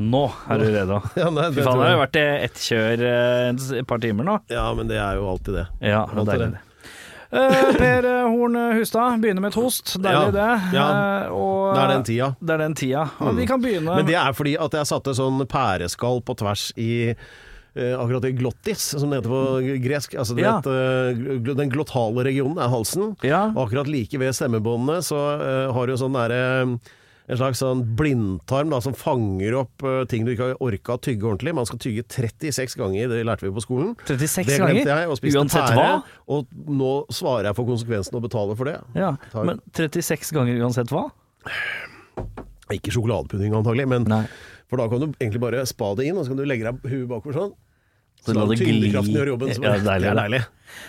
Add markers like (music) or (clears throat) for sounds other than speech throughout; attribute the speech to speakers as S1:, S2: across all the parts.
S1: Nå er du reda.
S2: Ja, nei,
S1: Fy
S2: det
S1: faen,
S2: tror
S1: det har jo
S2: jeg.
S1: vært ett kjør eh, et par timer nå.
S2: ja, men det er jo alltid det.
S1: Ja,
S2: Vant til
S1: deilig. Eh, per eh, Horn Hustad begynner med et host. Deilig,
S2: Ja,
S1: det.
S2: ja.
S1: Eh, og,
S2: Det er den tida. Mm.
S1: Det er den tida. Og vi kan begynne
S2: Men det er fordi at jeg satte sånn pæreskall på tvers i eh, akkurat det glottis, som det heter på gresk. Altså, du
S1: Ja.
S2: vet, eh, gl- den glottale regionen er halsen.
S1: Ja.
S2: Og akkurat like ved stemmebåndene så eh, har du sånn derre en slags sånn blindtarm da, som fanger opp eh, ting du ikke har orka å tygge ordentlig. Man skal tygge 36 ganger, det lærte vi på skolen.
S1: 36
S2: det glemte
S1: ganger?
S2: jeg, og spiste
S1: Uansett
S2: pære.
S1: hva?
S2: Og nå svarer jeg for konsekvensen og betaler for det.
S1: Ja,
S2: Tar-
S1: men 36 ganger uansett hva?
S2: Ikke sjokoladepudding antagelig, men
S1: Nei.
S2: For da kan du egentlig bare spa det inn, og så kan du legge deg huet bakover sånn.
S1: Så la
S2: lar du
S1: det gli.
S2: tyngdekraften gjøre jobben. så-
S1: Ja, det er deilig, det.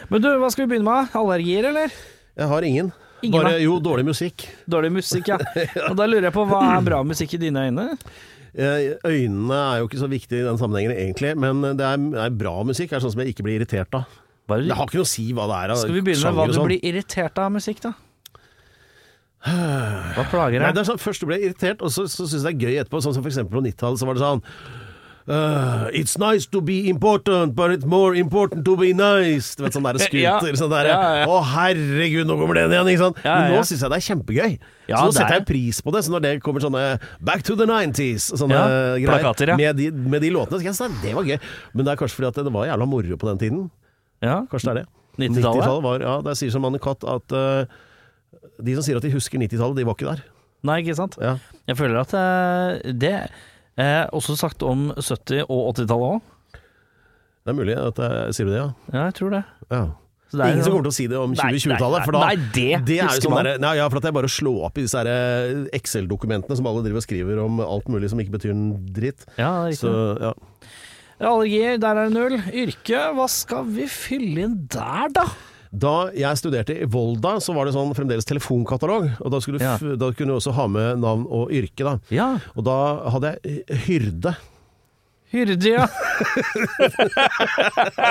S1: Men du, hva skal vi begynne med? Allergier, eller?
S2: Jeg har ingen.
S1: Ingen,
S2: bare
S1: da?
S2: jo, dårlig musikk.
S1: Dårlig
S2: (laughs)
S1: musikk, ja. Og da lurer jeg på, hva er bra musikk i dine øyne?
S2: Eh, Øynene er jo ikke så viktige i den sammenhengen egentlig, men det er, det er bra musikk. Det er sånn som jeg ikke blir irritert av.
S1: Bare,
S2: Det har ikke noe å si hva det er av
S1: skal vi begynne med hva
S2: sjanger og
S1: du
S2: sånn.
S1: blir irritert av musikk,
S2: (sighs)
S1: da? Hva plager
S2: Nei,
S1: deg?
S2: det er sånn, Først du ble irritert, og så, så syns jeg det er gøy etterpå. Sånn som for eksempel på 90-tallet, så var det sånn «Øh, it's nice to be important, but it's more important to be nice. Du vet,
S1: (laughs)
S2: sånn der scooter.
S1: Ja.
S2: Sånn der,
S1: Ja, ja.
S2: Å, herregud, nå kommer den igjen! Ikke sant?
S1: Ja, ja,
S2: Men
S1: ja.
S2: nå syns jeg det er kjempegøy.
S1: Ja,
S2: så nå
S1: det er-
S2: setter jeg pris på det. Så når det kommer sånne Back to the 90s sånne
S1: Ja,
S2: greier
S1: plakater, ja.
S2: med, de, med de låtene, så jeg synes det var gøy. Men det er kanskje fordi at det var jævla moro på den tiden.
S1: Ja.
S2: Kanskje det er det.
S1: 90-tallet?
S2: var Ja, det sier som Anne Katt at eh, de som sier at de husker 90-tallet, de var ikke der.
S1: Nei, ikke sant?
S2: Ja.
S1: Jeg føler at eh, det eh, Også sagt om 70- og 80-tallet òg.
S2: Det er mulig at jeg sier du det, ja.
S1: Ja, jeg tror det.
S2: ja.
S1: Så det er-
S2: Ingen som kommer til å si det om
S1: Nei,
S2: 2020-tallet.
S1: nei,
S2: For da,
S1: nei, det
S2: er
S1: husker
S2: jo sånn
S1: man.
S2: derre- nei, ja, for at det er bare å slå opp i disse her, eh, Excel-dokumentene som alle driver og skriver om alt mulig som ikke betyr en dritt.
S1: ja, det er riktig.
S2: Så, ja.
S1: Allergier, der er det null. Yrke, hva skal vi fylle inn der, da?
S2: Da jeg studerte i Volda, så var det sånn fremdeles telefonkatalog. Og da, skulle du,
S1: Ja.
S2: f- da kunne du også ha med navn og yrke, da.
S1: Ja,
S2: Og da hadde jeg eh, hyrde.
S1: hyrde, ja. (laughs)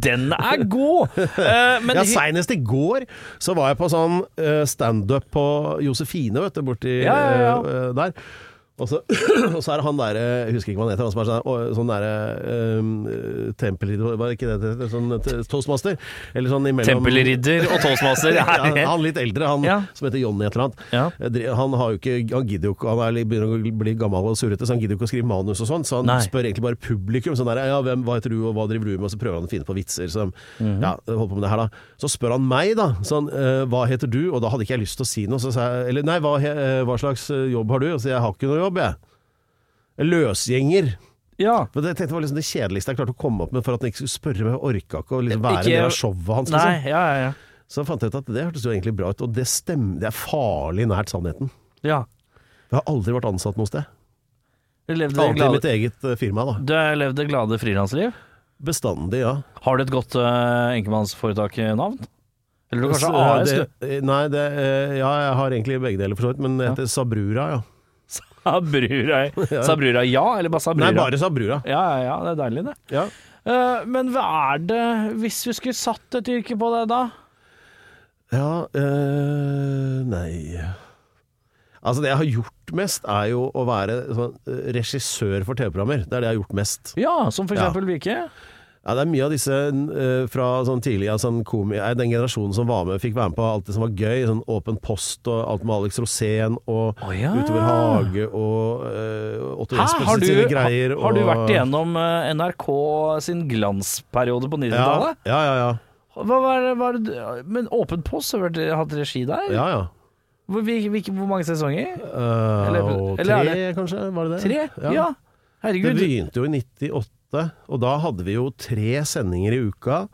S1: Den er god! Eh, men
S2: Ja,
S1: hy-
S2: Seinest i går så var jeg på sånn eh, standup på Josefine, vet du, borti
S1: Ja, ja, ja.
S2: eh, der. Og så, (clears throat) og så er det han der, eh, jeg husker ikke hva han heter, han som er sånn, å, sånn derre um, Tempelridder, var det ikke det det heter? Sånn eh, toastmaster? Eller sånn imellom
S1: Tempelridder og (laughs) toastmaster
S2: ja,
S1: er
S2: han litt eldre, han
S1: Ja.
S2: som heter Johnny et eller annet.
S1: Ja.
S2: Eh, dri- Han, har jo ikke, han gidder jo ikke, han er, litt- begynner å bli gammel og surrete, så han gidder jo ikke å skrive manus og sånn, så han
S1: Nei.
S2: spør egentlig bare publikum sånn der, ja, hvem, hva heter du, og hva driver du med, og så prøver han å finne på vitser som,
S1: Mhm.
S2: ja, holder på med det her da. Så spør han meg da, sånn, eh, hva heter du, og da hadde ikke jeg lyst til å si noe, så sa jeg, eller nei, hva, he- eh, hva slags eh, jobb har du? Og så sier jeg, jeg har ikke noe jobb, jeg. Løsgjenger.
S1: ja.
S2: Men det, jeg tenkte var liksom det kjedeligste jeg klarte å komme opp med for at han ikke skulle spørre meg, orka ikke å liksom være
S1: Ikke-
S2: en del av showet hans.
S1: Nei,
S2: Liksom.
S1: ja, ja, ja.
S2: Så fant jeg ut at det hørtes jo egentlig bra ut, og det stemmer. Det er farlig nært sannheten.
S1: ja.
S2: Jeg har aldri vært ansatt noe sted.
S1: Du levde det
S2: Annet enn
S1: glade,
S2: mitt eget eh, firma, da.
S1: du har levd det glade frilansliv.
S2: Bestandig, ja.
S1: Har du et godt uh, enkemannsforetak-navn? Eller du kanskje
S2: Så, eh,
S1: AS?
S2: det,
S1: du?
S2: eh, Nei, det eh, Ja, jeg har egentlig begge deler, for så vidt, men det heter Sabrura, ja.
S1: Sa
S2: (laughs)
S1: Brura, sa Brura ja, eller bare sa Brura?
S2: Nei, bare Sabrura.
S1: Ja, ja, ja, det er deilig, det.
S2: Ja.
S1: Eh, men hva er det Hvis vi skulle satt et yrke på deg, da?
S2: ja eh, nei Altså, det jeg har gjort mest, er jo å være sånn, eh, regissør for TV-programmer. Det er det jeg har gjort mest.
S1: Ja, som for
S2: Ja.
S1: eksempel hvilke?
S2: Ja, det er mye av disse eh, fra sånn tidlig ja, sånn komi eh, Den generasjonen som var med, fikk være med på alt det som var gøy. Sånn Åpen post og alt med Alex Rosén og
S1: Å, ja.
S2: Utover hage og eh, Otto
S1: Hæ, har
S2: Jespersen
S1: du,
S2: sine greier.
S1: har, har du
S2: og-
S1: vært igjennom eh, NRK sin glansperiode på
S2: ja,
S1: 90-tallet?
S2: ja, ja, ja.
S1: Hva var, det- var det- men Åpen post har vært- hatt regi der?
S2: ja, ja.
S1: Hvor, hvil- hvilke- hvor mange sesonger?
S2: Eh,
S1: Eller-
S2: og tre,
S1: eller er
S2: kanskje? Var det det?
S1: Tre? Ja.
S2: Eh, Det
S1: Herregud.
S2: begynte jo i 98, og da hadde vi jo tre sendinger i uka.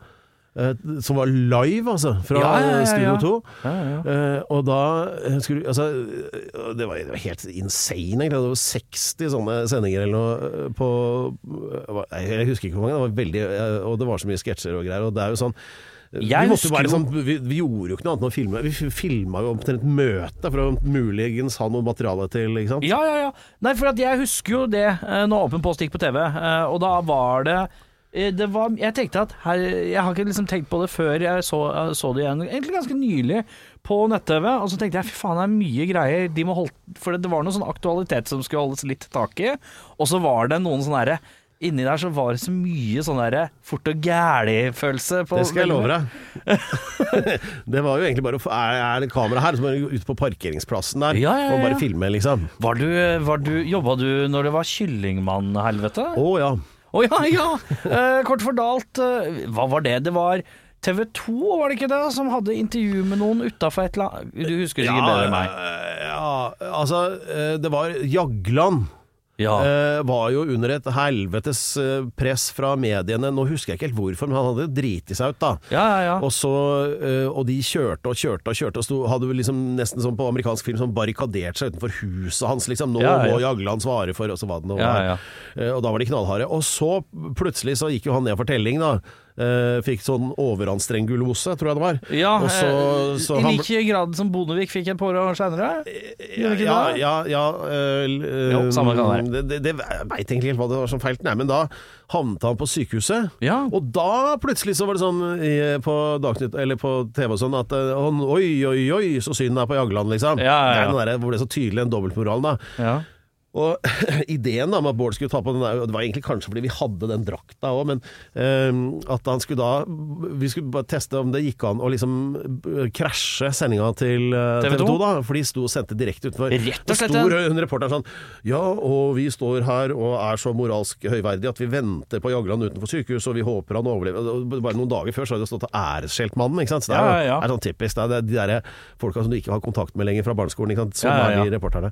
S2: eh, Som var live, altså, fra
S1: Ja, ja, ja,
S2: Studio
S1: ja.
S2: 2.
S1: Ja, ja.
S2: Eh, og da eh, skulle Altså, eh, det var, det var helt insane, egentlig. Det var 60 sånne sendinger eller noe eh, på eh, Nei, Jeg husker ikke hvor mange, det var veldig eh, Og det var så mye sketsjer og greier. Og det er jo sånn eh, vi,
S1: Jeg
S2: måtte jo
S1: husker
S2: være
S1: jo-
S2: sånn, vi, vi gjorde jo ikke noe annet enn å filme. Vi filma jo omtrent møtet for å muligens ha noe materiale til, ikke sant.
S1: Ja, ja, ja. Nei, for at jeg husker jo det eh, når Åpen post gikk på TV, eh, og da var det eh, det var, jeg tenkte at her, jeg har ikke liksom tenkt på det før jeg så, eh, så det igjen, egentlig ganske nylig, på nett-TV. Og så tenkte jeg fy faen, det er mye greier. De må holde, for det var noe sånn aktualitet som skulle holdes litt tak i. Og så var det noen sånne herre Inni der så var det så mye sånn derre fort og gæli-følelse. på-
S2: Det skal jeg love deg. (laughs) det var jo egentlig bare å få Er er det kamera her, så må du ut på parkeringsplassen der
S1: Ja, ja, ja,
S2: og
S1: ja.
S2: bare filme, liksom.
S1: Var du, var du, jobba du når det var kyllingmann-helvete?
S2: Å ja.
S1: Å ja, ja! Eh, kort fordalt, eh, hva var det? Det var TV 2, var det ikke det, som hadde intervju med noen utafor et eller annet Du husker sikkert bedre enn meg.
S2: eh, Ja, altså eh, Det var Jagland.
S1: Ja.
S2: eh, var jo under et helvetes eh, press fra mediene. Nå husker jeg ikke helt hvorfor, men han hadde driti seg ut, da.
S1: ja, ja, ja.
S2: Og, så, eh, og de kjørte og kjørte og kjørte og sto, hadde jo liksom nesten som på amerikansk film sånn barrikadert seg utenfor huset hans. Liksom. Nå
S1: Ja, ja.
S2: må Jagland svare for Og så hva det nå
S1: Ja,
S2: var.
S1: ja.
S2: Eh, Og da var de knallharde. Og så plutselig så gikk jo han ned for telling, da. Eh, Fikk sånn overanstrengt gullmose, tror jeg det var.
S1: ja
S2: og så-
S1: eh,
S2: så
S1: I
S2: han ble-
S1: like grad som Bondevik fikk et par år seinere?
S2: Ja,
S1: ikke
S2: ja,
S1: det?
S2: ja, ja eh, l- eh,
S1: Jo, samme kan
S2: det, det, det jeg veit egentlig ikke helt hva det var som feilte, nei, men da havnet han på sykehuset.
S1: Ja.
S2: Og da plutselig så var det sånn i, på, Dagsnytt, eller på TV og sånn at eh, han, Oi, oi, oi, så synd det er på Jagland, liksom.
S1: Ja, ja, ja.
S2: Det er den der, hvor det er så tydelig en dobbeltmoral, da.
S1: ja.
S2: Og (laughs) ideen da med at Bård skulle ta på den der, og det var egentlig kanskje fordi vi hadde den drakta òg, men eh, at han skulle da Vi skulle bare teste om det gikk an å liksom eh, krasje sendinga til eh, TV 2,
S1: TV2,
S2: da, for de sto og sendte direkte utenfor.
S1: Rett og slett,
S2: Det sto hun reporteren sånn Ja, og vi står her og er så moralsk høyverdige at vi venter på Jagland utenfor sykehus, og vi håper han overlever. Og Bare noen dager før så hadde det stått 'æresskjelt mannen', ikke sant. Så det er,
S1: Ja, ja,
S2: jo-
S1: ja.
S2: er sånn typisk. Det er de derre folka som du ikke har kontakt med lenger fra barneskolen, ikke sant. Sånn
S1: Ja, ja, ja.
S2: er de reporterne.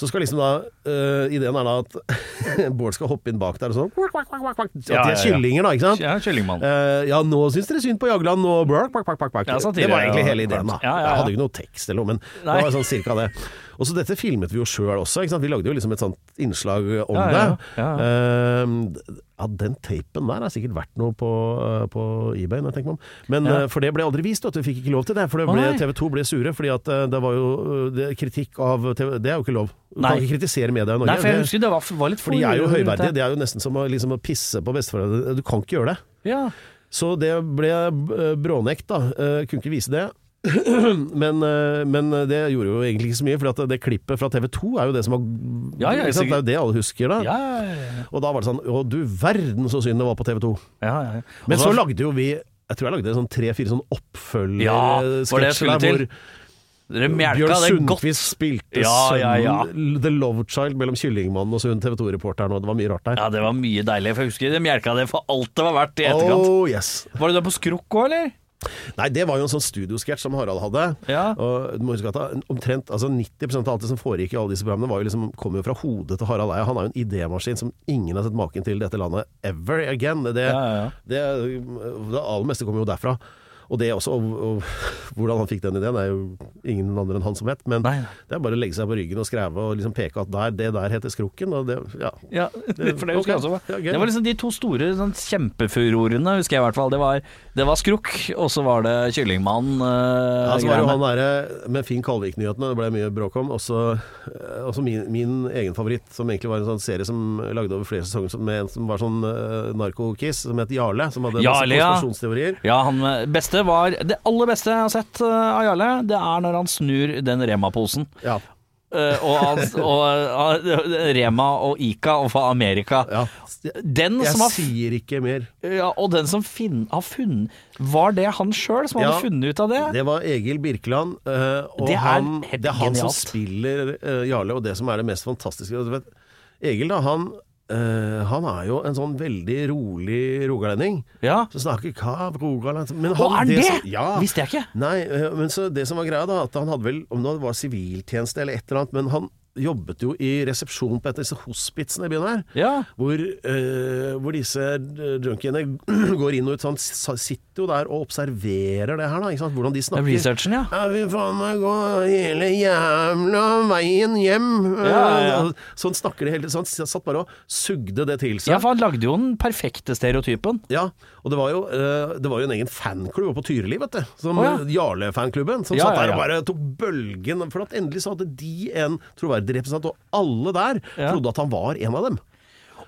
S2: Så skal liksom da øh, Ideen er da at (laughs) Bård skal hoppe inn bak der og sånn At de
S1: Ja, ja,
S2: er
S1: ja.
S2: kyllinger, da, ikke sant?
S1: ja kyllingmann.
S2: Eh, ja, nå syns dere synd på Jagland, og brak, brak, brak, brak, brak.
S1: Ja, satire,
S2: det var egentlig
S1: ja.
S2: hele ideen, da.
S1: Ja, ja, ja.
S2: Jeg hadde jo ikke noe tekst eller noe, men
S1: Nei.
S2: det var sånn cirka det. Og så dette filmet vi jo sjøl også, ikke sant? vi lagde jo liksom et sånt innslag om
S1: Ja, ja,
S2: det.
S1: ja,
S2: Eh, ja, den tapen der er sikkert verdt noe på, eh, på eBay, når jeg tenker meg om. Men
S1: Ja.
S2: eh, for det ble aldri vist, vet du. Vi fikk ikke lov til det. For det
S1: Å,
S2: ble,
S1: nei.
S2: TV 2 ble sure, fordi at eh, det var jo eh, det, er kritikk av TV Det er jo ikke lov. Du
S1: Nei.
S2: kan ikke kritisere media i Norge.
S1: Nei, for jeg
S2: Det-
S1: husker det var, var litt
S2: for de er jo
S1: for-
S2: høyverdige. Det er jo nesten som å, liksom, å pisse på besteforeldre. Du kan ikke gjøre det.
S1: Ja.
S2: Så det ble eh, brånekt, da. Eh, Kunne ikke vise det. (clears throat) men, eh, men det gjorde jo egentlig ikke så mye, for at det klippet fra TV 2 er jo det som har
S1: Ja, ja,
S2: ikke sant? Det er jo det alle husker, da.
S1: Ja, ja, ja,
S2: Og da var det sånn Å du verden så synd det var på TV 2.
S1: ja, ja.
S2: Men
S1: Og
S2: så lagde jo vi jeg tror jeg lagde sånn tre-fire
S1: Ja, var
S2: sånn
S1: det jeg
S2: oppfølgersketsjer
S1: skulle
S2: der
S1: til.
S2: hvor
S1: Dere melka
S2: Bjørn
S1: det godt.
S2: Sundquist spilte
S1: Ja, ja, ja.
S2: sønnen The Love Child mellom Kyllingmannen og så hun TV 2-reporteren, og det var mye rart der.
S1: Ja, det var mye deilig. For jeg husker de melka det for alt det var verdt i etterkant.
S2: oh yes.
S1: Var du der på skrukk òg, eller?
S2: Nei, det var jo en sånn studiosketsj som Harald hadde.
S1: Ja.
S2: Og du må huske at da, omtrent altså 90 av alt det som foregikk i alle disse programmene, var jo liksom, kom jo fra hodet til Harald Eia. Han er jo en idémaskin som ingen har sett maken til i dette landet ever again. Det,
S1: Ja, ja, ja.
S2: det, det aller meste kommer jo derfra. Og det også, og, og (laughs) hvordan han fikk den ideen, er jo ingen andre enn han som vet. Men
S1: Nei, nei.
S2: det er bare å legge seg på ryggen og skreve og liksom peke at der, det der heter Skrukken. Og det, ja.
S1: Ja, for det husker jeg også.
S2: Ja, gøy.
S1: det var liksom de to store sånn, kjempefurorene, husker jeg i hvert fall. Det var, det var skrukk, og så var det kyllingmann. eh,
S2: Ja, så var det jo
S1: greiene.
S2: han derre med Finn Kalvik-nyhetene, det ble mye bråk om. Også, eh, også min, min egen favoritt, som egentlig var en sånn serie som lagde over flere sesonger som- med en som var sånn eh, narkokiss, som het Jarle. Som hadde
S1: Jarle, ja.
S2: masse konspirasjonsteorier.
S1: ja, han beste eh, var Det aller beste jeg har sett eh, av Jarle, det er når han snur den Rema-posen.
S2: Ja.
S1: eh, og, hans- og eh, Rema og Ica og fra Amerika.
S2: Ja.
S1: Den
S2: Jeg
S1: som har
S2: sier ikke mer.
S1: ja, og den som finn, har funnet Var det han sjøl som
S2: Ja.
S1: hadde funnet ut av det?
S2: Det var Egil Birkeland, eh, og
S1: Det er
S2: han,
S1: helt
S2: det er han som
S1: genialt.
S2: spiller eh, Jarle, og det som er det mest fantastiske du vet, Egil, da, han, eh, han er jo en sånn veldig rolig rogalending.
S1: Ja.
S2: Så snakker kav rogaland men
S1: Å, er han det?
S2: som- ja.
S1: Visste jeg ikke.
S2: Nei, eh, men så det som var greia, da, at han hadde vel Om det var siviltjeneste eller et eller annet, men han jobbet jo i resepsjonen på et av disse hospitsene i byen her.
S1: Ja.
S2: Hvor, eh, hvor disse eh, junkiene (clears throat) går inn og ut. Så han s- sitter jo der og observerer det her, da. Ikke sant? Hvordan de snakker.
S1: Researchen, ja.
S2: Jeg vil faen meg gå hele jævla veien hjem.
S1: Ja, ja.
S2: (laughs) Sånn snakker de hele tiden. Så han satt bare og sugde det til seg.
S1: Ja, for han lagde jo den perfekte stereotypen.
S2: Ja, og det var jo, eh, det var jo en egen fanklubb oppe på Tyrili, vet du. Som
S1: Å, ja.
S2: Jarle-fanklubben. Som
S1: Ja,
S2: satt
S1: ja,
S2: der
S1: ja.
S2: og bare tok bølgen. For at endelig så hadde de en troverdig representant, og alle der
S1: Ja.
S2: trodde at han var en av dem.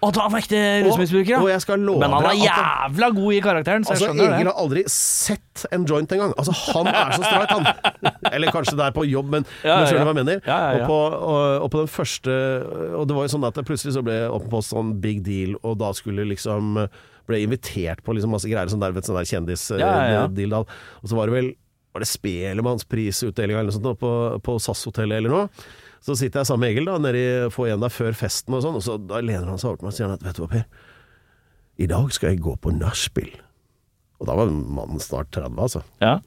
S1: Og da var ekte rusmisbruker, ja.
S2: Og- og jeg skal love
S1: Men han
S2: dere
S1: er
S2: at han-
S1: jævla god i karakteren, så
S2: Altså,
S1: jeg skjønner
S2: Egil
S1: det.
S2: har aldri sett en joint engang. Altså, han er så streit,
S1: (laughs)
S2: han. Eller kanskje det er på jobb, men,
S1: Ja, ja,
S2: men skjønner du
S1: ja.
S2: hva jeg mener?
S1: Ja, ja, ja.
S2: Og, på, og, og på den første Og det var jo sånn at det plutselig så ble Åpen Post sånn big deal, og da skulle liksom Ble invitert på liksom masse greier, sånn der, vet, du, sånn der kjendis
S1: Ja, ja, ja.
S2: eh, deal da. Og så var det vel Var det Spelemannsprisutdelinga eller noe sånt da, på, på SAS-hotellet eller noe? Så sitter jeg sammen med Egil da, nede i få en der før festen og sånn, og så da lener han seg over til meg og sier han at vet du hva, Per, i dag skal jeg gå på nachspiel. Og da var mannen snart 30, altså.
S1: Ja.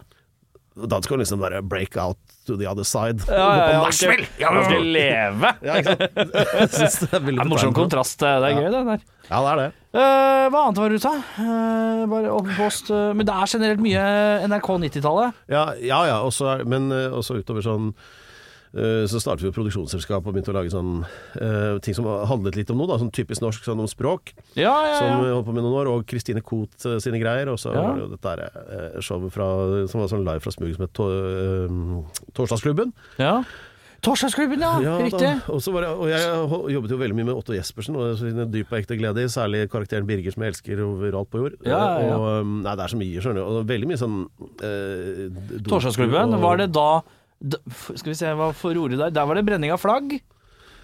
S2: Da skal han liksom være break out to the other side.
S1: Ja, ja, ja, han
S2: Gå (laughs) på
S1: skal-
S2: nachspiel! Ja,
S1: Han skal leve!
S2: ja,
S1: (laughs)
S2: ikke sant? Jeg synes det er
S1: Det
S2: veldig
S1: er en morsom
S2: betegnende.
S1: kontrast. eh, Det er gøy, det der.
S2: Ja, det er det.
S1: Eh, hva annet var det du sa? Eh, bare åpen post. eh, men det er generelt mye NRK 90-tallet.
S2: Ja, ja, ja og så er- men eh, også utover sånn eh, så startet vi jo produksjonsselskap og begynte å lage sånn eh, ting som handlet litt om noe, da, sånn typisk norsk, sånn om språk,
S1: Ja, ja,
S2: som eh, vi
S1: ja.
S2: holdt på med noen år, og Kristine Koht eh, sine greier, og så
S1: Ja.
S2: var det jo dette her, eh, showet fra, som var sånn live fra Smug som het to, eh, Torsdagsklubben.
S1: ja. Torsdagsklubben, ja.
S2: Ja,
S1: (laughs) Riktig.
S2: Da, og, så var jeg, og jeg ho- jobbet jo veldig mye med Otto Jespersen og sine dyp og ekte glede i, særlig karakteren Birger som jeg elsker overalt på jord.
S1: Ja, ja, ja.
S2: Og, um, nei, det er så mye, skjønner du. Og veldig mye sånn eh, d- dop-
S1: Torsdagsklubben,
S2: og-
S1: var det da da- f- Skal vi se, hva forordet der? Der var det brenning av flagg.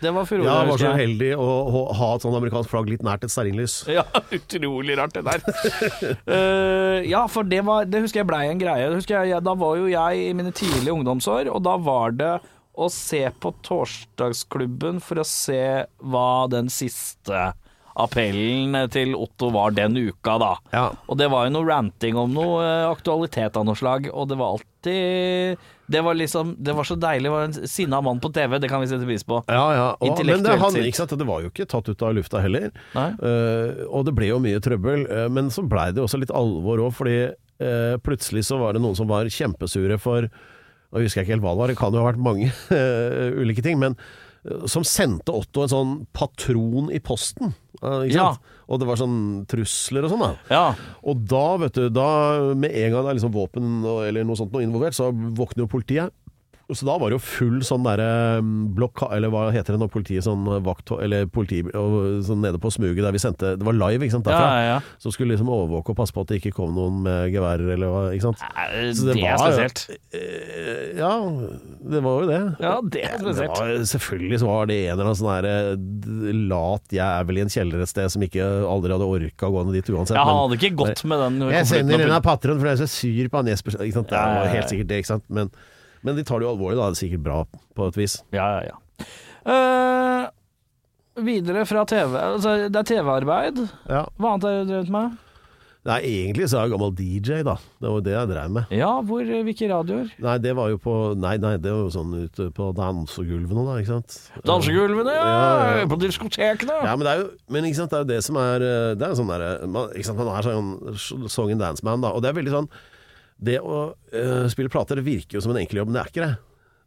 S1: Det var forordet.
S2: Ja, jeg var
S1: husker
S2: så
S1: jeg.
S2: heldig å, å ha et sånn amerikansk flagg litt nært et stearinlys.
S1: (laughs) Ja, utrolig rart det der. Eh, ja, for det, var, det husker jeg blei en greie. Det husker jeg, jeg, da var jo jeg i mine tidlige ungdomsår, og da var det å se på Torsdagsklubben for å se hva den siste appellen til Otto var den uka, da.
S2: Ja.
S1: Og det var jo noe ranting om noe eh, aktualitet av noe slag, og det var alltid Det var liksom Det var så deilig. Det var en sinna mann på TV, det kan vi sette pris på.
S2: Ja, ja. Og, men det,
S1: Intellektuelt
S2: han,
S1: sett.
S2: ikke sant? det var jo ikke tatt ut av lufta heller.
S1: Nei.
S2: Eh, og det ble jo mye trøbbel. eh, men så blei det jo også litt alvor òg, fordi eh, plutselig så var det noen som var kjempesure for Nå husker jeg ikke helt hva det var, det kan jo ha vært mange eh, ulike ting. Men eh, som sendte Otto en sånn patron i posten. eh, ikke
S1: Ja.
S2: sant? Og det var sånn trusler og sånn, da.
S1: Ja.
S2: Og da, vet du, da med en gang det er liksom våpen og- eller noe sånt noe involvert, så våkner jo politiet. Så da var det jo full sånn derre mm, blokka... Eller hva heter det når politiet sånn vakt... Eller politi og sånn nede på smuget der vi sendte Det var live, ikke sant, derfra.
S1: Ja, ja, ja.
S2: Som skulle liksom overvåke og passe på at det ikke kom noen med geværer eller hva, ikke sant. Så
S1: det, er
S2: var jo-
S1: spesielt.
S2: Eh, Ja, det var jo det.
S1: Ja, det er
S2: Det
S1: spesielt.
S2: var, selvfølgelig så var det en eller annen sånn her d- lat jævel i en kjeller et sted som ikke aldri hadde orka å gå ned dit uansett.
S1: Ja, han
S2: men-
S1: hadde ikke gått med den
S2: jeg
S1: konflikten
S2: sender
S1: opp-
S2: unna patron, for jeg er så sur på han Jesper. Ikke sant? Det
S1: Ja, ja,
S2: var
S1: ja.
S2: helt sikkert det, ikke sant? Men, men de tar det jo alvorlig, da. Det er sikkert bra på et vis.
S1: Ja, ja, ja. Eh, videre fra TV. Altså, det er TV-arbeid.
S2: Ja.
S1: Hva annet har du drevet med?
S2: Nei, egentlig så er jeg gammel DJ, da. Det var jo det jeg drev med.
S1: Ja, hvor, eh, hvilke radioer?
S2: Nei, det var jo på Nei, nei, det var jo sånn ute på dansegulvene, da, ikke sant.
S1: Dansegulvene,
S2: Ja, ja.
S1: på diskotekene.
S2: Ja, men det er jo Men ikke sant, det er jo det som er eh, Det er jo sånn derre man- Ikke sant, man er sånn song and dance man, da. Og det er veldig sånn Det å eh, spille plater det virker jo som en enkel jobb, men det er ikke det.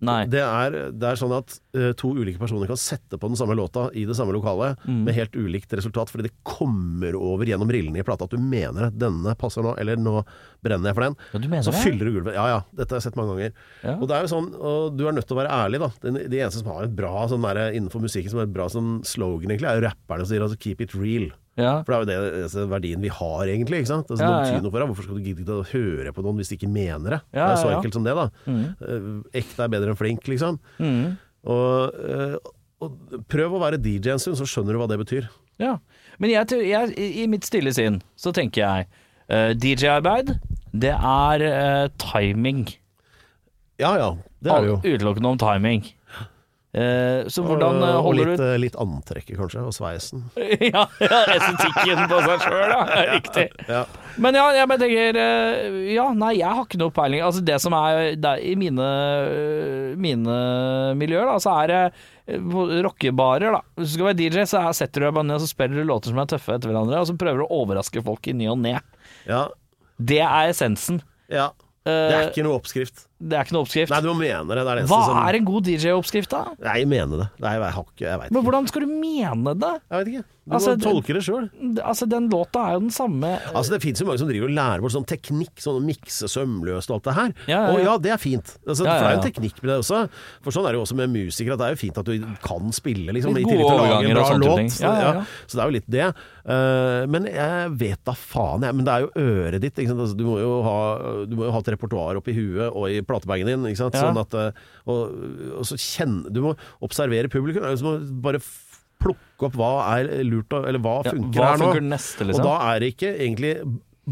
S1: Nei.
S2: Det er, det er sånn at eh, to ulike personer kan sette på den samme låta i det samme lokalet
S1: Mm.
S2: med helt ulikt resultat, fordi det kommer over gjennom rillene i plata at du mener at denne passer nå, eller nå brenner jeg for den.
S1: Ja, du mener
S2: så
S1: det?
S2: fyller du gulvet. Ja ja, dette har jeg sett mange ganger.
S1: Ja.
S2: Og det er jo sånn, og du er nødt til å være ærlig, da. Den, de eneste som har et bra sånn derre innenfor musikken som er et bra sånn slogan, egentlig, er jo rapperne som sier altså 'keep it real'.
S1: Ja.
S2: For det er jo det eneste verdien vi har, egentlig. ikke sant? Altså,
S1: Ja,
S2: noen
S1: ja, ja.
S2: tyr noe for deg. Hvorfor skal du gidde å høre på noen hvis de ikke mener det?
S1: Ja, Mm.
S2: det er så
S1: ja, ja. Mm.
S2: enkelt som det, da. Eh, Ekte er bedre enn flink, liksom. Og, eh, og prøv å være DJ en stund, så skjønner du hva det betyr.
S1: Ja. Men jeg, tror- jeg, i- i mitt stille sinn så tenker jeg eh, DJ-arbeid, det er eh, timing.
S2: Ja ja, det er det jo.
S1: Alt Utelukkende om timing. Eh, så hvordan eh,
S2: Og- og
S1: holder
S2: litt,
S1: du
S2: eh, litt antrekket, kanskje, og sveisen.
S1: (laughs) ja, ja, estetikken på seg sjøl, ja. Riktig.
S2: (laughs) Ja.
S1: Men ja, jeg bare tenker eh, Ja, nei, jeg har ikke noe peiling. Altså, det som er der, i mine, øh, mine miljøer, da, så er det eh, på rockebarer, da. Hvis du skal være DJ, så er, setter du deg bare ned og så spiller du låter som er tøffe etter hverandre, og så prøver du å overraske folk i ny og ne.
S2: Ja,
S1: Det er essensen.
S2: ja. Det er
S1: Eh,
S2: ikke noe oppskrift.
S1: det er ikke noe oppskrift.
S2: Nei, du må mene det. Det er det eneste
S1: Hva
S2: som
S1: er en god DJ-oppskrift, da?
S2: Nei, jeg mener det. Nei, jeg har ikke Jeg veit
S1: Men
S2: ikke.
S1: hvordan skal du mene det?
S2: Jeg vet ikke. Du
S1: Altså,
S2: må
S1: det-
S2: tolke det sjøl.
S1: Altså, den låta er jo den samme
S2: Altså, det fins jo mange som driver og lærer bort sånn teknikk, sånn å mikse sømløst og alt det her.
S1: Ja, ja, ja.
S2: Og ja, det er fint. Altså,
S1: Ja, ja,
S2: For det er jo
S1: ja.
S2: en teknikk med det også. For sånn er det jo også med musikere, at det er jo fint at du kan spille, liksom.
S1: Litt
S2: I
S1: gode
S2: tillegg til å lage
S1: overganger
S2: en bra
S1: og sånne
S2: låt.
S1: ting.
S2: Så,
S1: Ja, ja,
S2: ja.
S1: ja.
S2: så det er jo litt det. Eh, men jeg vet da faen, jeg. Men det er jo øret ditt, ikke sant. Altså, du, må jo ha, du må jo ha et repertoar oppi huet og i platebagen din, ikke sant.
S1: Ja.
S2: Sånn at eh, og, og så kjenne Du må observere publikum. Du må du bare f- plukke opp hva er lurt, og- eller hva
S1: Ja,
S2: funker
S1: hva
S2: her nå.
S1: funker neste, liksom?
S2: Og da er det ikke egentlig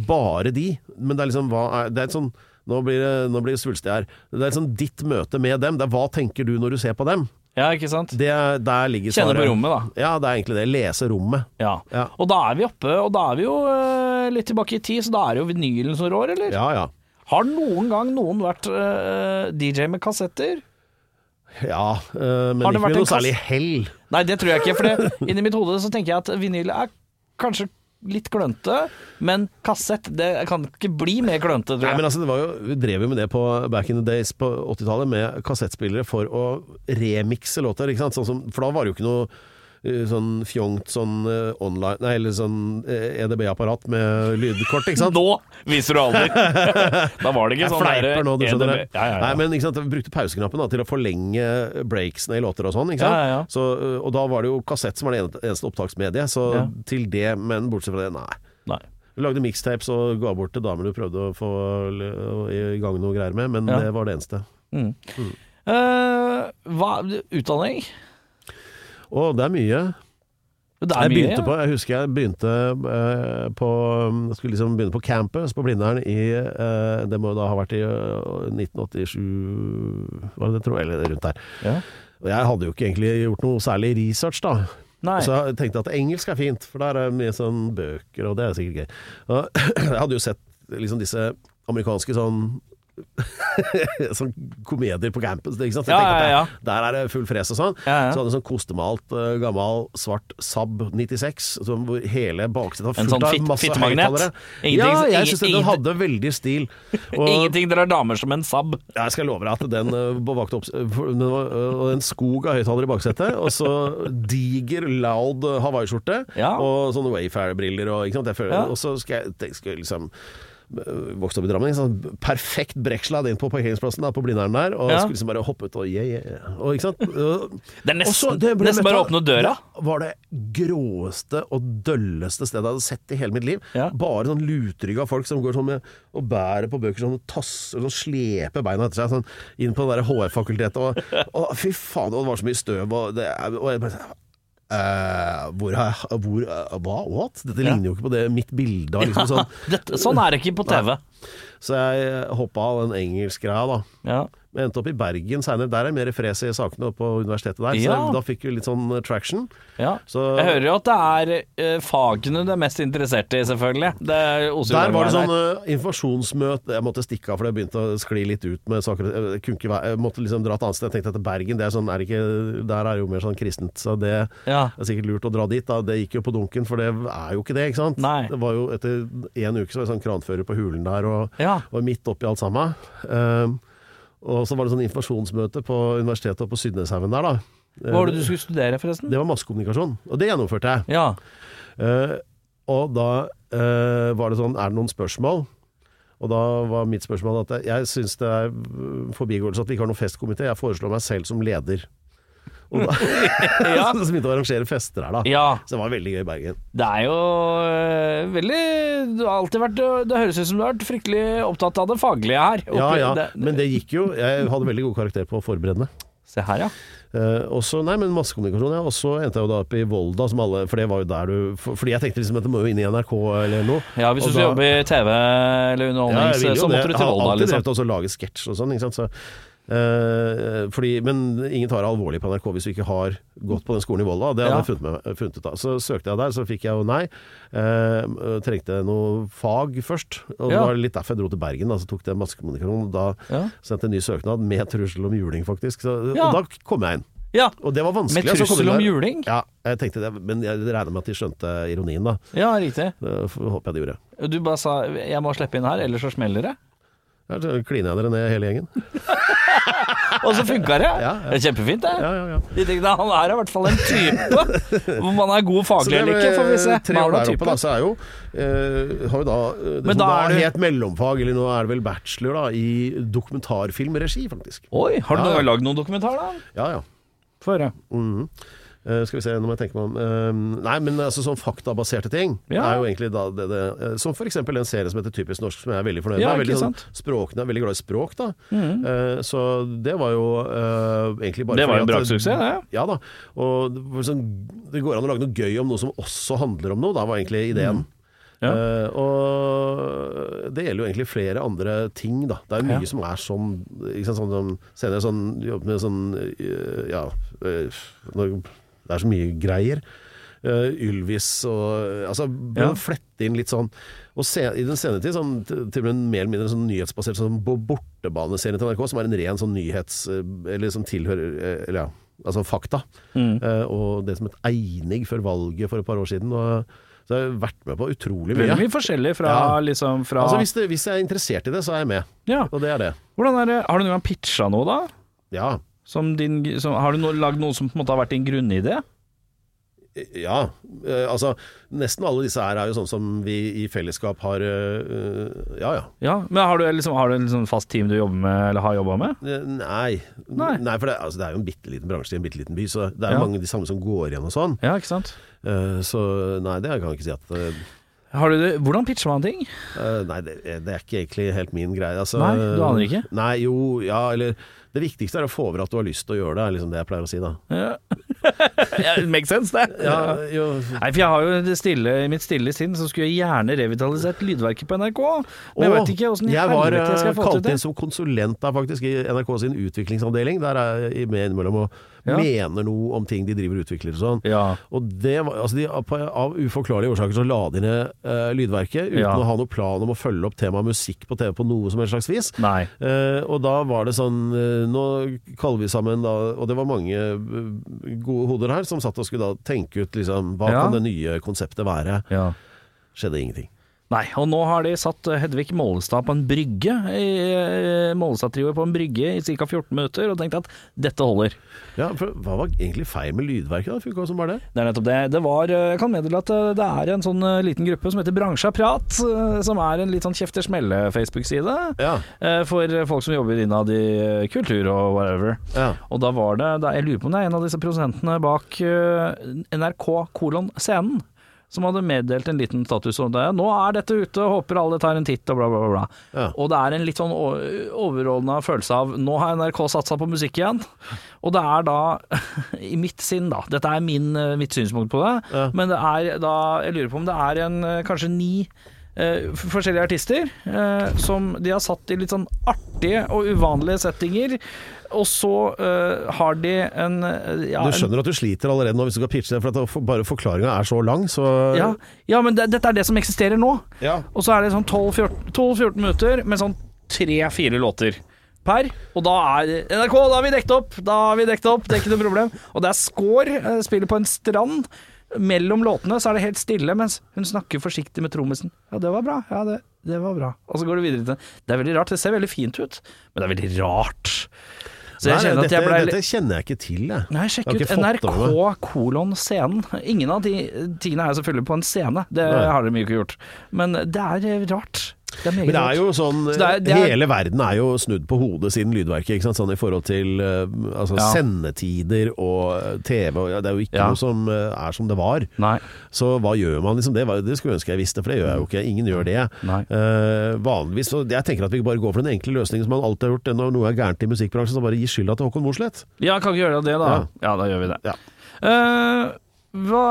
S2: bare de, men det er liksom hva er, Det er et sånn nå blir det, nå blir det svulstig her. Det er liksom ditt møte med dem. Det er hva tenker du når du ser på dem?
S1: Ja, ikke sant?
S2: Det, er- der ligger
S1: Kjenne
S2: svaret.
S1: på rommet, da.
S2: Ja, det er egentlig det. Lese rommet.
S1: Ja.
S2: Ja.
S1: Og da er vi oppe, og da er vi jo eh, litt tilbake i tid, så da er det jo vinylen som rår, eller?
S2: Ja ja.
S1: Har noen gang noen vært eh, DJ med kassetter?
S2: Ja, øh, men
S1: Har det vært
S2: ikke med
S1: en
S2: noe
S1: kass-
S2: særlig hell.
S1: Nei, det tror jeg ikke, for
S2: (laughs)
S1: det, inni mitt hode så tenker jeg at vinyl er kanskje litt klønte, men kassett, det kan ikke bli mer klønte, tror
S2: Nei,
S1: jeg.
S2: men altså, det var jo, vi drev jo med det på back in the days på 80-tallet, med kassettspillere for å remikse låter. Ikke sant? Sånn som, for da var det jo ikke noe eh, sånn fjongt sånn eh, online Nei, eller sånn eh, EDB-apparat med lydkort, ikke sant?
S1: Nå viser du alder! (laughs) da var det ikke
S2: Jeg
S1: sånn der-
S2: fleiper nå, du skjønner det.
S1: EDB. Ja, ja, ja.
S2: Nei, men ikke sant, Vi brukte pauseknappen da, til å forlenge breaksene i låter og sånn. ikke sant?
S1: Ja, ja, ja.
S2: Så, eh, og da var det jo kassett som var det ene- eneste opptaksmediet, så
S1: Ja.
S2: til det, men bortsett fra det, nei.
S1: Nei.
S2: Vi lagde mixtapes og ga bort til damer du prøvde å få l- i gang noe greier med, men
S1: Ja.
S2: det var det eneste.
S1: Eh, hva, utdanning?
S2: Og det er mye.
S1: Det er
S2: jeg
S1: mye.
S2: begynte på, jeg husker jeg begynte eh, på jeg Skulle liksom begynne på campus på Blindern i eh, Det må jo da ha vært i eh, 1987 Var det det, tror jeg? Eller rundt der.
S1: Ja.
S2: Og jeg hadde jo ikke egentlig gjort noe særlig research, da.
S1: Nei.
S2: Så jeg tenkte at engelsk er fint, for der er det mye sånn bøker, og det er sikkert gøy. Og (clears throat) jeg hadde jo sett liksom disse amerikanske sånn (laughs) Sånn komedier på campus. Ikke sant? Så jeg
S1: Ja,
S2: tenkte at
S1: ja, ja.
S2: Der er det full fres og sånn.
S1: Ja, ja.
S2: Så hadde jeg en sånn kostemalt, eh, gammel, svart Saab 96, som hvor hele baksetet var
S1: En
S2: fullt
S1: sånn
S2: av
S1: fitt-
S2: masse
S1: fittemagnet?
S2: høyttalere.
S1: Ingenting-
S2: Ja, jeg
S1: ingen-
S2: syns den
S1: ingen-
S2: hadde
S1: (laughs)
S2: veldig stil. Og-
S1: Ingenting dere er damer som en sab.
S2: ja, Jeg skal love deg at den eh, vakte opp for- den var, eh, og en skog av høyttalere i baksetet, og så diger, loud eh, Hawaii-skjorte,
S1: Ja.
S2: og sånne Wayfair-briller, og, ikke sant? Jeg føler-
S1: Ja.
S2: og så skal jeg, tenk- skal jeg liksom eh, vokste opp i Drammen, ikke sant? perfekt breksladd inn på parkeringsplassen da, på Blindern der, og
S1: Ja.
S2: skulle liksom bare hoppe ut og yeah, yeah, yeah. Og, ikke
S1: (laughs)
S2: sant?
S1: Det er
S2: Og så-
S1: nesten,
S2: det ble
S1: nesten bare å
S2: metal-
S1: åpne døra.
S2: Det var det gråeste og dølleste stedet jeg hadde sett i hele mitt liv.
S1: Ja.
S2: Bare sånn lutrygga folk som går sånn med, og bærer på bøker sånn og tasser og sleper beina etter seg sånn inn på det der HR-fakultetet. Og, og fy faen, og det var så mye støv, og, det, og jeg bare sånn, eh, hvor har jeg hvor, eh, Hva? What? Dette ligner jo ikke på det mitt bilde av liksom sånn.
S1: Dette, sånn er det ikke på TV.
S2: Så jeg hoppa av den engelskgreia, da.
S1: Ja.
S2: Men endte opp i Bergen seinere. Der er det mer fres i sakene oppe på universitetet der.
S1: Ja.
S2: Så da fikk vi litt sånn traction.
S1: Ja.
S2: Så-
S1: jeg hører jo at det er eh, fagene du er mest interessert i, selvfølgelig. Det er oser jo
S2: Der var det
S1: bare
S2: sånn eh, informasjonsmøte Jeg måtte stikke av, for det begynte å skli litt ut med saker. Jeg, kunne ikke være, jeg måtte liksom dra et annet sted. Jeg tenkte at Bergen, det er sånn, er det ikke, der er det jo mer sånn kristent, så det
S1: Ja.
S2: er sikkert lurt å dra dit. Da. Det gikk jo på dunken, for det er jo ikke det, ikke sant?
S1: Nei.
S2: Det var jo etter en uke så var det sånn kranfører på hulen der, og,
S1: Ja.
S2: og midt oppi alt sammen. Ehm, og så var det sånn informasjonsmøte på universitetet og på Sydneshaugen der, da.
S1: Hva var det du skulle studere, forresten?
S2: Det var massekommunikasjon, og det gjennomførte jeg.
S1: Ja.
S2: Eh, og da eh, var det sånn, er det noen spørsmål? Og da var mitt spørsmål at jeg- jeg syns det er eh, forbigåelse at vi ikke har noen festkomité. Jeg foreslår meg selv som leder. Og da,
S1: (laughs)
S2: (laughs)
S1: Ja.
S2: Så begynte jeg å arrangere fester her, da.
S1: ja.
S2: Så det var veldig gøy i Bergen.
S1: Det er jo eh, veldig Du har alltid vært Det høres ut som du har vært fryktelig opptatt av det faglige her.
S2: Ja
S1: Oppi-
S2: ja,
S1: det-
S2: men det gikk jo. Jeg hadde veldig god karakter på forberedende.
S1: Se her, ja.
S2: Eh, og så, nei, men massekommunikasjon, ja. Og så endte jeg jo da opp i Volda, som alle For det var jo der du for, Fordi jeg tenkte liksom at det må jo inn i NRK eller noe.
S1: Ja, Hvis du
S2: Og
S1: skal
S2: da-
S1: jobbe i TV eller
S2: ja,
S1: underholdning,
S2: jeg vil jo
S1: så
S2: det.
S1: måtte du til
S2: Jeg har
S1: Volda.
S2: alltid
S1: liksom
S2: drevet også å lage sketsj og sånn, ikke sant. Så, eh, fordi, men ingen tar det alvorlig på NRK hvis du ikke har gått på den skolen i Volda. Det hadde
S1: Ja.
S2: jeg funnet, meg, funnet ut av. Så søkte jeg der, så fikk jeg jo nei. Eh, trengte noe fag først. Og det
S1: Ja.
S2: var litt derfor jeg dro til Bergen, da, så tok det massekommunikasjon. Da
S1: Ja.
S2: sendte jeg en ny søknad med trussel om juling, faktisk. Så,
S1: Ja.
S2: Og da kom jeg inn.
S1: Ja,
S2: Og det var vanskelig. altså,
S1: Med
S2: så kom
S1: trussel
S2: de
S1: om
S2: der-
S1: juling?
S2: Ja, jeg tenkte det, men jeg regner med at de skjønte ironien, da.
S1: ja, riktig.
S2: Det f- håper jeg de gjorde.
S1: Du bare sa 'jeg må slippe inn her, ellers så smeller det'.
S2: Ja, så Kliner jeg dere ned hele gjengen?
S1: Og så funka det!
S2: (laughs) Ja, ja.
S1: Det er Kjempefint, det.
S2: Ja, ja, ja.
S1: De tenkte, han er i hvert fall en type.
S2: (laughs)
S1: Om han er god faglig eller ikke, får vi se.
S2: tre
S1: Men
S2: år
S1: han er
S2: der
S1: type.
S2: oppe, da, så er jo, eh, har jo da eh, det
S1: Men
S2: som
S1: da
S2: da
S1: er du-
S2: het mellomfag, eller nå er det vel bachelor, da, i dokumentarfilmregi, faktisk.
S1: Oi, har du
S2: Ja, ja.
S1: noe- lagd noen dokumentar, da?
S2: Ja, ja.
S1: Få høre.
S2: Mhm. Eh, skal vi se, nå må jeg tenke meg om Eh, Nei, men altså sånn faktabaserte ting
S1: Ja.
S2: er jo egentlig da det, det eh, Som for eksempel en serie som heter Typisk norsk, som jeg er veldig fornøyd
S1: Ja,
S2: med. Jeg
S1: ikke Mhm.
S2: er Veldig, sånn, språkene, jeg er veldig glad i språk, da. Eh, så det var jo eh, egentlig bare
S1: Det var en
S2: fordi at-
S1: braksuksess, det.
S2: Ja da. Og det, var sånn, det går an å lage noe gøy om noe som også handler om noe, da var egentlig ideen.
S1: Mm. Ja.
S2: Eh, og det gjelder jo egentlig flere andre ting, da. Det er mye
S1: Ja.
S2: som er sånn, ikke sant, sånn som Senere sånn jobber med sånn eh, Ja eh, når- Det er så mye greier. Eh, Ylvis og eh, Altså,
S1: Ja.
S2: ja. flette inn litt sånn Og se, i den senere tid, sånn, til til og med en mer eller mindre sånn nyhetsbasert sånn på bortebaneserien til NRK, som er en ren sånn nyhets... eh, Eller som tilhører eh, Eller ja, altså fakta.
S1: Mm.
S2: Eh, og det som het Einig før valget for et par år siden. Og, så jeg har jeg vært med på utrolig mye.
S1: Veldig mye forskjellig fra
S2: Ja.
S1: liksom fra
S2: Altså, hvis, det, hvis jeg er interessert i det, så er jeg med.
S1: ja.
S2: Og det er det.
S1: Hvordan er det? Har du noen gang pitcha noe, da?
S2: Ja.
S1: Som din, som, har du no, lagd noe som på en måte har vært din grunnidé?
S2: Ja, eh, altså Nesten alle disse her er jo sånn som vi i fellesskap har eh, Ja ja.
S1: Ja, men har du liksom, har du en liksom fast team du jobber med, eller har jobba med?
S2: Eh, Nei.
S1: Nei.
S2: for det, altså, det er jo en bitte liten bransje i en bitte liten by, så det er jo
S1: Ja.
S2: mange av de samme som går igjen og sånn.
S1: Ja, ikke sant?
S2: Eh, Så nei, det kan jeg ikke si at eh,
S1: Har du det? Hvordan pitcher man ting?
S2: Eh, nei, det, det er ikke egentlig helt min greie. Altså,
S1: Nei, du aner ikke?
S2: Nei, jo, ja, eller Det viktigste er å få over at du har lyst til å gjøre det, er liksom det jeg pleier å si, da.
S1: Ja. Makes sense, (laughs) det.
S2: Ja, jo,
S1: Nei, for jeg har jo det stille, i mitt stille sinn så skulle jeg gjerne revitalisert lydverket på NRK. Men jeg
S2: Og
S1: vet ikke åssen i
S2: jeg var
S1: helvete jeg skal
S2: eh,
S1: få til
S2: kalt
S1: det.
S2: inn som konsulent der, faktisk, i NRK sin utviklingsavdeling. Der er jeg med innimellom og
S1: Ja.
S2: mener noe om ting de driver og utvikler og sånn.
S1: Ja.
S2: Og det var, altså de, på- Av uforklarlige årsaker så la de ned eh, lydverket, uten
S1: Ja.
S2: å ha noen plan om å følge opp temaet musikk på TV på noe som helst slags vis.
S1: Nei.
S2: Eh, og da var det sånn eh, Nå kaller vi sammen da Og det var mange eh, gode hoder her som satt og skulle da tenke ut liksom Hva
S1: Ja.
S2: kan det nye konseptet være?
S1: Ja.
S2: Skjedde ingenting.
S1: Nei, og nå har de satt Hedvig Mollestad på en brygge, i- Mollestad-trioet på en brygge i ca. 14 minutter, og tenkt at dette holder.
S2: Ja, for Hva var egentlig feil med lydverket? da? Funka som bare det?
S1: Det er nettopp det. det var, eh, jeg kan meddele at eh, det er en sånn eh, liten gruppe som heter Bransja Prat, eh, som er en litt sånn kjefter-smelle-Facebook-side
S2: Ja.
S1: eh, for folk som jobber innad i eh, kultur og whatever.
S2: ja.
S1: Og da var det, da, jeg lurer på om det er en av disse produsentene bak eh, NRK kolon scenen som hadde meddelt en liten status om det. Nå er dette ute, håper alle tar en titt og bla, bla, bla. bla.
S2: Ja.
S1: Og det er en litt sånn overordna følelse av nå har NRK satsa på musikk igjen. Og det er da, (laughs) i mitt sinn da, dette er min, eh, mitt synspunkt på det,
S2: Ja.
S1: men det er da, jeg lurer på om det er en eh, kanskje ni eh, f- forskjellige artister eh, som de har satt i litt sånn artige og uvanlige settinger. Og så eh, har de en eh, ja,
S2: Du
S1: en-
S2: skjønner at du sliter allerede nå hvis du skal pitche det, for at det- for- bare forklaringa er så lang, så
S1: ja, ja, men det, dette er det som eksisterer nå.
S2: Ja.
S1: Og så er det sånn 12-14 12-14 minutter med sånn tre-fire låter per. Og da er det- NRK, da har vi dekket opp! Da har vi dekket opp, det er ikke noe problem. Og det er score, eh, spiller på en strand. Mellom låtene så er det helt stille, mens hun snakker forsiktig med trommisen. Ja, det var bra. Ja, det, det var bra. Og så går det videre til Det er veldig rart. Det ser veldig fint ut, men det er veldig rart. Så jeg
S2: Nei,
S1: kjenner at jeg
S2: dette,
S1: ble
S2: dette kjenner jeg ikke til, jeg.
S1: Nei, sjekk
S2: Jeg har
S1: ut
S2: ikke fått
S1: NRK
S2: det med meg.
S1: kolon scenen. Ingen av de tingene er selvfølgelig på en scene, det
S2: Nei.
S1: har de jo ikke gjort. Men det er eh, rart. Det er meget
S2: Men det er jo sånn
S1: Så det er- det er-
S2: Hele verden er jo snudd på hodet siden lydverket, ikke sant? Sånn i forhold til eh, altså,
S1: Ja.
S2: sendetider og eh, TV. Og, ja, det er jo ikke
S1: Ja.
S2: noe som eh, er som det var.
S1: Nei.
S2: Så hva gjør man liksom? Det, var- det skulle jeg ønske jeg visste, for det gjør jeg jo ikke. Ingen gjør det.
S1: Nei.
S2: Eh, vanligvis, og Jeg tenker at vi bare går for den enkle løsningen som man alltid har gjort. Når noe er gærent i musikkbransjen, så bare gi skylda til Håkon Mosleth.
S1: Ja, kan ikke gjøre det, da. Ja, da gjør vi det.
S2: Ja.
S1: Eh, hva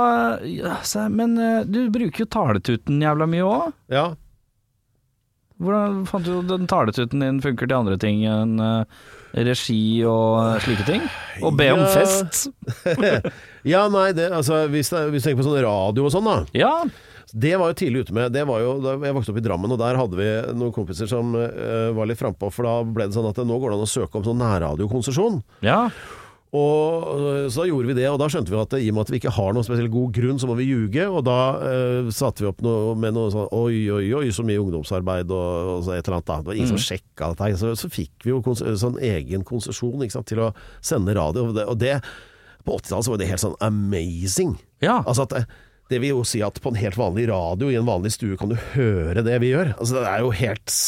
S1: ja, se, Men eh, du bruker jo taletuten jævla mye òg.
S2: Ja. (laughs)
S1: Hvordan fant du ut den taletuten din funker til andre ting enn eh, regi og eh, slike ting? Og be om
S2: Ja.
S1: fest.
S2: ja, nei, det, altså, hvis, det, hvis du tenker på sånn radio og sånn, da.
S1: Ja.
S2: Det var jo tidlig ute med. Det var jo, da jeg vokste opp i Drammen, og der hadde vi noen kompiser som eh, var litt frampå. For da ble det sånn at nå går det an å søke om sånn nærradiokonsesjon.
S1: ja.
S2: Og, eh, så da gjorde vi det, og da skjønte vi at eh, i og med at vi ikke har noen spesielt god grunn, så må vi ljuge. Og da eh, satte vi opp noe med noe sånn oi, oi, oi, så mye ungdomsarbeid og, og så et eller annet. Da. Det var ingen som sjekka dette. her. Så, så fikk vi jo kons sånn egen konsesjon ikke sant, til å sende radio. Og det, og det på 80-tallet så var det helt sånn amazing.
S1: Ja.
S2: Altså at eh, det vil jo si at på en helt vanlig radio i en vanlig stue kan du høre det vi gjør. Altså Det er jo helt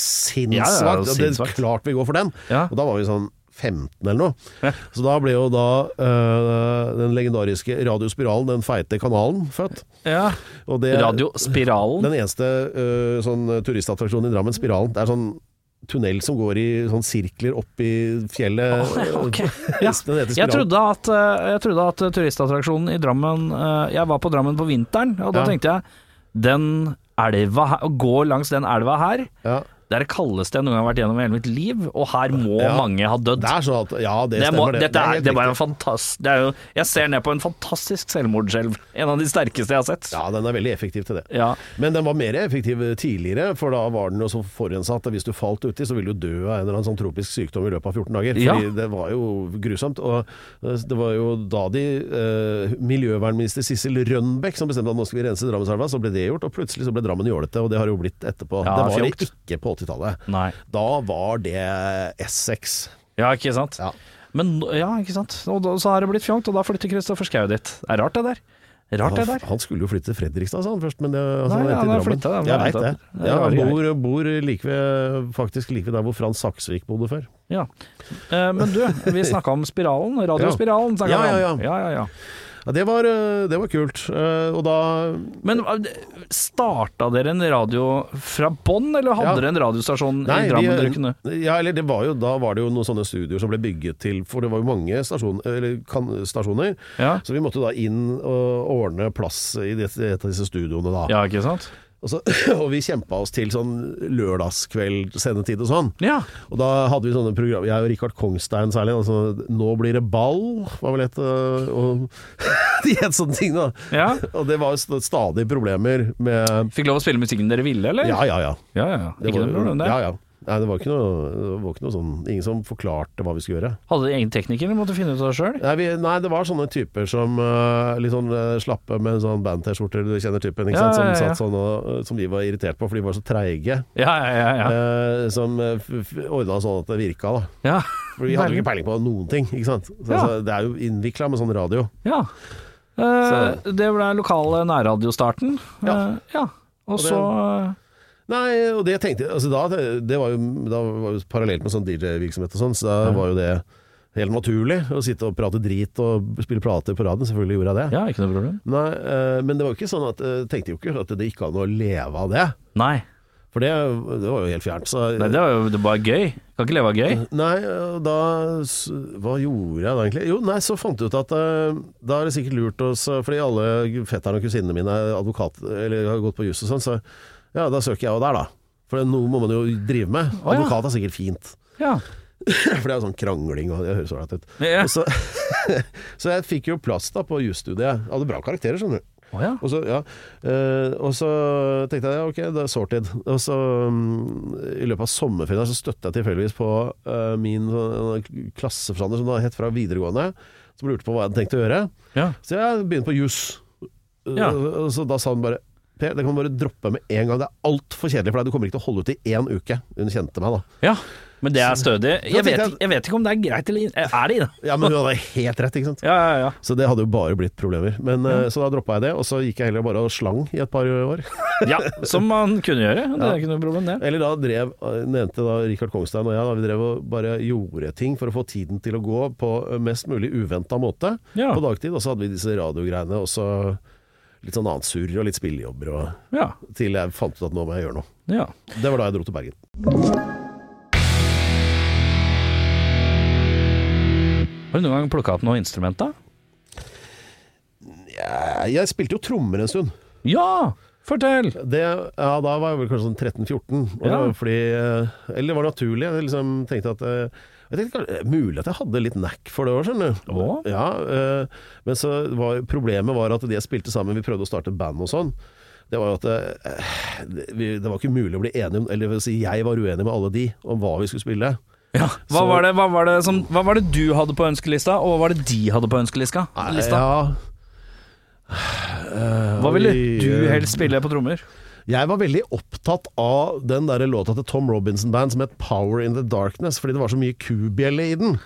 S1: Ja, det er jo
S2: sinnssvakt. og det er
S1: sinnssvakt.
S2: klart vi går for den.
S1: Ja.
S2: Og da var vi sånn 15 eller noe. Så da ble jo da eh, den legendariske Radiospiralen, den feite kanalen, født.
S1: ja.
S2: Og det,
S1: Radiospiralen.
S2: Den eneste eh, sånn turistattraksjonen i Drammen, Spiralen. Det er sånn tunnel som går i sånn sirkler opp i fjellet. (laughs)
S1: ok.
S2: Ja.
S1: Ja.
S2: Den heter
S1: Jeg
S2: Spiralen.
S1: trodde at, eh, jeg trodde at turistattraksjonen i Drammen eh, Jeg var på Drammen på vinteren, og da
S2: Ja.
S1: tenkte jeg Den elva her, å gå langs den elva her,
S2: Ja.
S1: det er det kaldeste jeg noen gang har vært gjennom i hele mitt liv, og her må
S2: Ja.
S1: mange ha dødd.
S2: Det er sånn at Ja, det,
S1: Det, må,
S2: stemmer.
S1: dette
S2: helt
S1: er, det
S2: riktig.
S1: var en fantastisk det er jo, Jeg ser ned på en fantastisk selvmordsskjelv. En av de sterkeste jeg har sett.
S2: Ja, den er veldig effektiv til det.
S1: Ja.
S2: Men den var mer effektiv tidligere, for da var den jo så forurensa at hvis du falt uti, så ville du dø av en eller annen sånn tropisk sykdom i løpet av 14 dager. Fordi
S1: Ja.
S2: det var jo grusomt. Og eh, det var jo da de eh, Miljøvernminister Sissel Rønbeck som bestemte at nå skal vi rense Drammenselva, så ble det gjort. Og plutselig så ble Drammen jålete, og det har jo blitt etterpå.
S1: Ja,
S2: det var det
S1: fjokt.
S2: ikke på 80-tallet.
S1: Nei.
S2: Da var det Essex.
S1: Ja, ikke sant?
S2: Ja.
S1: Men nå- ja, ikke sant? Og da, så har det blitt fjongt, og da flytter Kristoffer Schau dit. Det er rart det der. Rart det
S2: Han-
S1: der.
S2: Han skulle jo flytte til Fredrikstad, sa han først, men det, altså,
S1: Nei,
S2: han
S1: ja,
S2: endte i
S1: han har
S2: Drammen.
S1: flyttet, han
S2: Jeg
S1: har
S2: veit det.
S1: flyttet. Det er
S2: Ja, han
S1: rare
S2: bor, bor like ved, faktisk like ved der hvor Frans Saksvik bodde før.
S1: Ja. Eh, men du,
S2: (laughs)
S1: vi snakka om spiralen. Radiospiralen snakka
S2: Ja,
S1: vi om.
S2: ja, ja.
S1: ja, ja, ja.
S2: Ja, det, var, eh, det var kult. Eh, Og da
S1: Men eh, starta dere en radio fra bånn, eller hadde
S2: Ja.
S1: dere en radiostasjon
S2: Nei,
S1: i Drammen dere kunne?
S2: vi, ja, eller det var jo, da var det jo noen sånne studioer som ble bygget til For det var jo mange stasjon, eller, kan, stasjoner.
S1: Ja.
S2: Så vi måtte da inn og ordne plass i det- et av disse studioene, da.
S1: Ja, ikke sant?
S2: Og, så, (laughs) og vi kjempa oss til sånn lørdagskveld-sendetid og sånn.
S1: Ja.
S2: Og da hadde vi sånne program Jeg og Rikard Kongstein særlig altså, Nå blir det ball Var vel et øh, og, (laughs) De het sånne ting da
S1: ja.
S2: Og det var jo st- stadig problemer med
S1: Fikk lov å spille musikken dere ville, eller?
S2: Ja, ja, ja
S1: ja. ja.
S2: Det
S1: Ikke
S2: var-
S1: noe problem, det.
S2: Ja, ja Nei, det var ikke noe, det var ikke noe sånn Ingen som forklarte hva vi skulle gjøre
S1: Hadde dere egen tekniker, eller måtte dere finne ut av det sjøl?
S2: Nei, vi, nei det var sånne typer som øh, Litt sånn øh, slappe med sånn band-t-skjorter Du kjenner typen, ikke
S1: Ja,
S2: sant? Som,
S1: ja, ja.
S2: satt sånn og, øh, som de var irritert på For de var så treige
S1: Ja, ja, ja. ja.
S2: eh, Som øh, f- f- ordnet sånn at det virka da
S1: ja.
S2: For vi hadde jo ikke peiling på noen ting, ikke sant? Så,
S1: Ja.
S2: altså, det er jo innvikla med sånn radio.
S1: ja. Eh, det ble lokale nærradiostarten.
S2: Ja.
S1: Eh, ja. Og
S2: det-
S1: så eh,
S2: Nei, og det tenkte jeg altså, da, det var jo, da var jo parallelt med sånn DJ-virksomhet og sånn, så da var jo det helt naturlig å sitte og prate drit og spille plater på radioen. Selvfølgelig gjorde jeg det.
S1: Ja, ikke noe problem.
S2: Nei, eh, men det var jo ikke sånn at eh, tenkte jo ikke at det gikk an å leve av det.
S1: Nei.
S2: For det, det var jo helt fjernt. Så,
S1: Nei, det var jo det var gøy. Kan ikke leve av gøy.
S2: Nei, og da s- Hva gjorde jeg da egentlig? Jo, nei, så fant jeg ut at eh, da er det sikkert lurt oss eh, Fordi alle fetterne og kusinene mine er advokat Eller har gått på jus og sånn, så ja, da søker jeg jo der, da. For noe må man jo drive med.
S1: Å, ja.
S2: Advokat er sikkert fint. (clears throat)
S1: Ja.
S2: For det er jo sånn krangling og det høres ålreit ut.
S1: Ja.
S2: Og Så, så (laughs) jeg fikk jo plass da på jusstudiet. Jeg Hadde bra karakterer, skjønner du.
S1: Å ja.
S2: Og så, ja. eh, og så tenkte jeg ja, ok, det er sorted. Og så mm, i løpet av sommerferien der, så støtte jeg tilfeldigvis på eh, min sånn, klasseforstander som da het fra videregående, som lurte på hva jeg hadde tenkt å gjøre.
S1: ja.
S2: Så jeg begynte på juss.
S1: Ja.
S2: Eh, og så da sa han bare Per, det kan du bare droppe med en gang. Det er altfor kjedelig for deg. Du kommer ikke til å holde ut i én uke. Hun kjente meg, da.
S1: Ja. Men det er stødig. Jeg
S2: tenkte
S1: vet,
S2: jeg-
S1: jeg vet ikke om det er greit eller ikke. Er det det?
S2: Ja, men hun hadde helt rett, ikke sant?
S1: Ja, ja, ja.
S2: Så det hadde jo bare blitt problemer. Men, eh, Så da droppa jeg det, og så gikk jeg heller bare og slang i et par år.
S1: Ja, som man kunne gjøre. Det er ikke noe problem, det.
S2: Eller da drev, nevnte da Rikard Kongstein og jeg, da vi drev og bare gjorde ting for å få tiden til å gå på mest mulig uventa måte
S1: Ja.
S2: på dagtid. Og så hadde vi disse radiogreiene, og så litt sånn annet surr og litt spillejobber og
S1: Ja,
S2: Til jeg fant ut at nå må jeg gjøre noe.
S1: ja.
S2: Det var da jeg dro til Bergen.
S1: Har du noen gang plukka opp noe instrument, da?
S2: Jeg, Eh, jeg spilte jo trommer en stund.
S1: Ja! Fortell!
S2: Det, ja, da var jeg vel kanskje sånn 13-14. og det
S1: Ja.
S2: var Fordi eh, Eller det var naturlig. Jeg liksom tenkte at eh, jeg tenkte kanskje, Mulig at jeg hadde litt knack for det òg, skjønner du.
S1: Å?
S2: Ja, eh, men så var, problemet var at de jeg spilte sammen, vi prøvde å starte band og sånn. Det var jo at eh, det- vi, det var ikke mulig å bli enige om Eller det vil si, jeg var uenig med alle de om hva vi skulle spille.
S1: Ja, hva,
S2: Så-
S1: var det, hva, var det som, hva var det du hadde på ønskelista, og hva var det de hadde på ønskelista? Lista?
S2: Ja,
S1: Hva ville
S2: vi-
S1: du helst spille på trommer?
S2: Jeg var veldig opptatt av den der låta til Tom Robinson Band som het 'Power In The Darkness', fordi det var så mye kubjelle i den.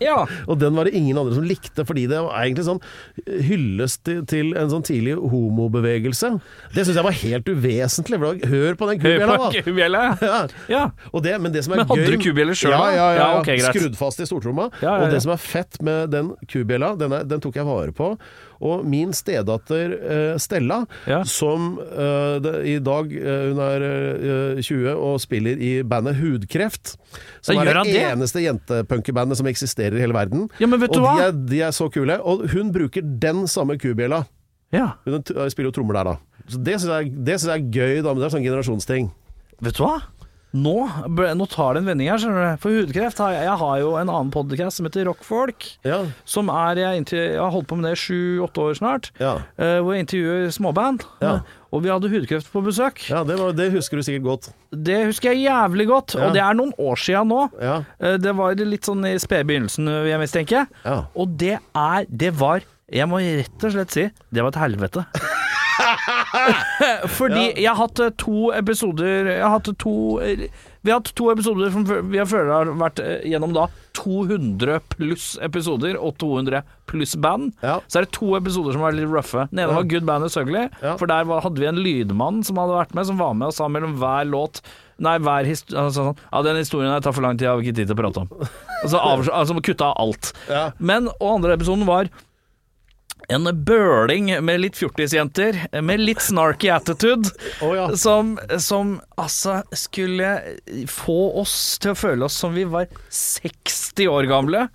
S1: Ja,
S2: Og den var det ingen andre som likte, fordi det var egentlig sånn hyllest til, til en sånn tidlig homobevegelse. Det syns jeg var helt uvesentlig. For da, hør på den kubjella, da!
S1: høypakkebjelle.
S2: Ja.
S1: Ja.
S2: Og det, men det som er
S1: Men hadde
S2: gøy
S1: du kubjeller selv,
S2: Ja,
S1: da?
S2: ja, ja,
S1: Ja, ok, greit.
S2: skrudd fast i stortromma.
S1: Ja, ja, ja.
S2: Og det som er fett med den kubjella, den, er, den tok jeg vare på. Og min stedatter eh, Stella,
S1: Ja.
S2: som eh, det, i dag eh, Hun er eh, 20 og spiller i bandet Hudkreft. Som
S1: Da gjør
S2: er
S1: han
S2: det,
S1: det?
S2: eneste jentepunkerbandet som eksisterer i hele verden.
S1: Ja, men vet
S2: og
S1: du hva?
S2: De, er, de er så kule. Og hun bruker den samme kubjella.
S1: ja.
S2: Hun t- eh, spiller jo trommer der, da. Så Det syns jeg, det synes jeg er gøy, da, men det er sånn generasjonsting.
S1: Vet du hva? Nå, ble, nå tar det en vending her, skjønner du. For hudkreft har jeg, jeg har jo en annen podcast som heter Rockfolk.
S2: Ja,
S1: Som er jeg, inntil, jeg har holdt på med det i sju-åtte år snart.
S2: Ja.
S1: eh, hvor jeg intervjuer småband.
S2: Ja.
S1: Og vi hadde hudkreft på besøk.
S2: ja det, var, det husker du sikkert godt.
S1: Det husker jeg jævlig godt,
S2: Ja.
S1: og det er noen år siden nå.
S2: Ja.
S1: Eh, Det var litt sånn i spede begynnelsen, vil jeg mistenke.
S2: Ja.
S1: Og det er Det var Jeg må rett og slett si det var et helvete. Fordi jeg har hatt eh, to episoder Jeg har hatt to eh, Vi har hatt to episoder som fø- vi har føler har vært eh, gjennom da 200 pluss episoder og 200 pluss band.
S2: Ja.
S1: Så er det to episoder som var litt røffe. Den ene var Good Band Is Ugly,
S2: Ja.
S1: for der var, hadde vi en lydmann som hadde vært med, som var med og sa mellom hver låt Nei, hver historie altså, sånn, Ja, den historien her tar for lang tid, jeg har ikke tid til å prate om. Altså, av, altså kutta av alt.
S2: Ja.
S1: Men, og andre episoden var en bøling med litt fjortisjenter, med litt snarky attitude,
S2: Å, ja.
S1: som, som altså skulle få oss til å føle oss som vi var 60 år gamle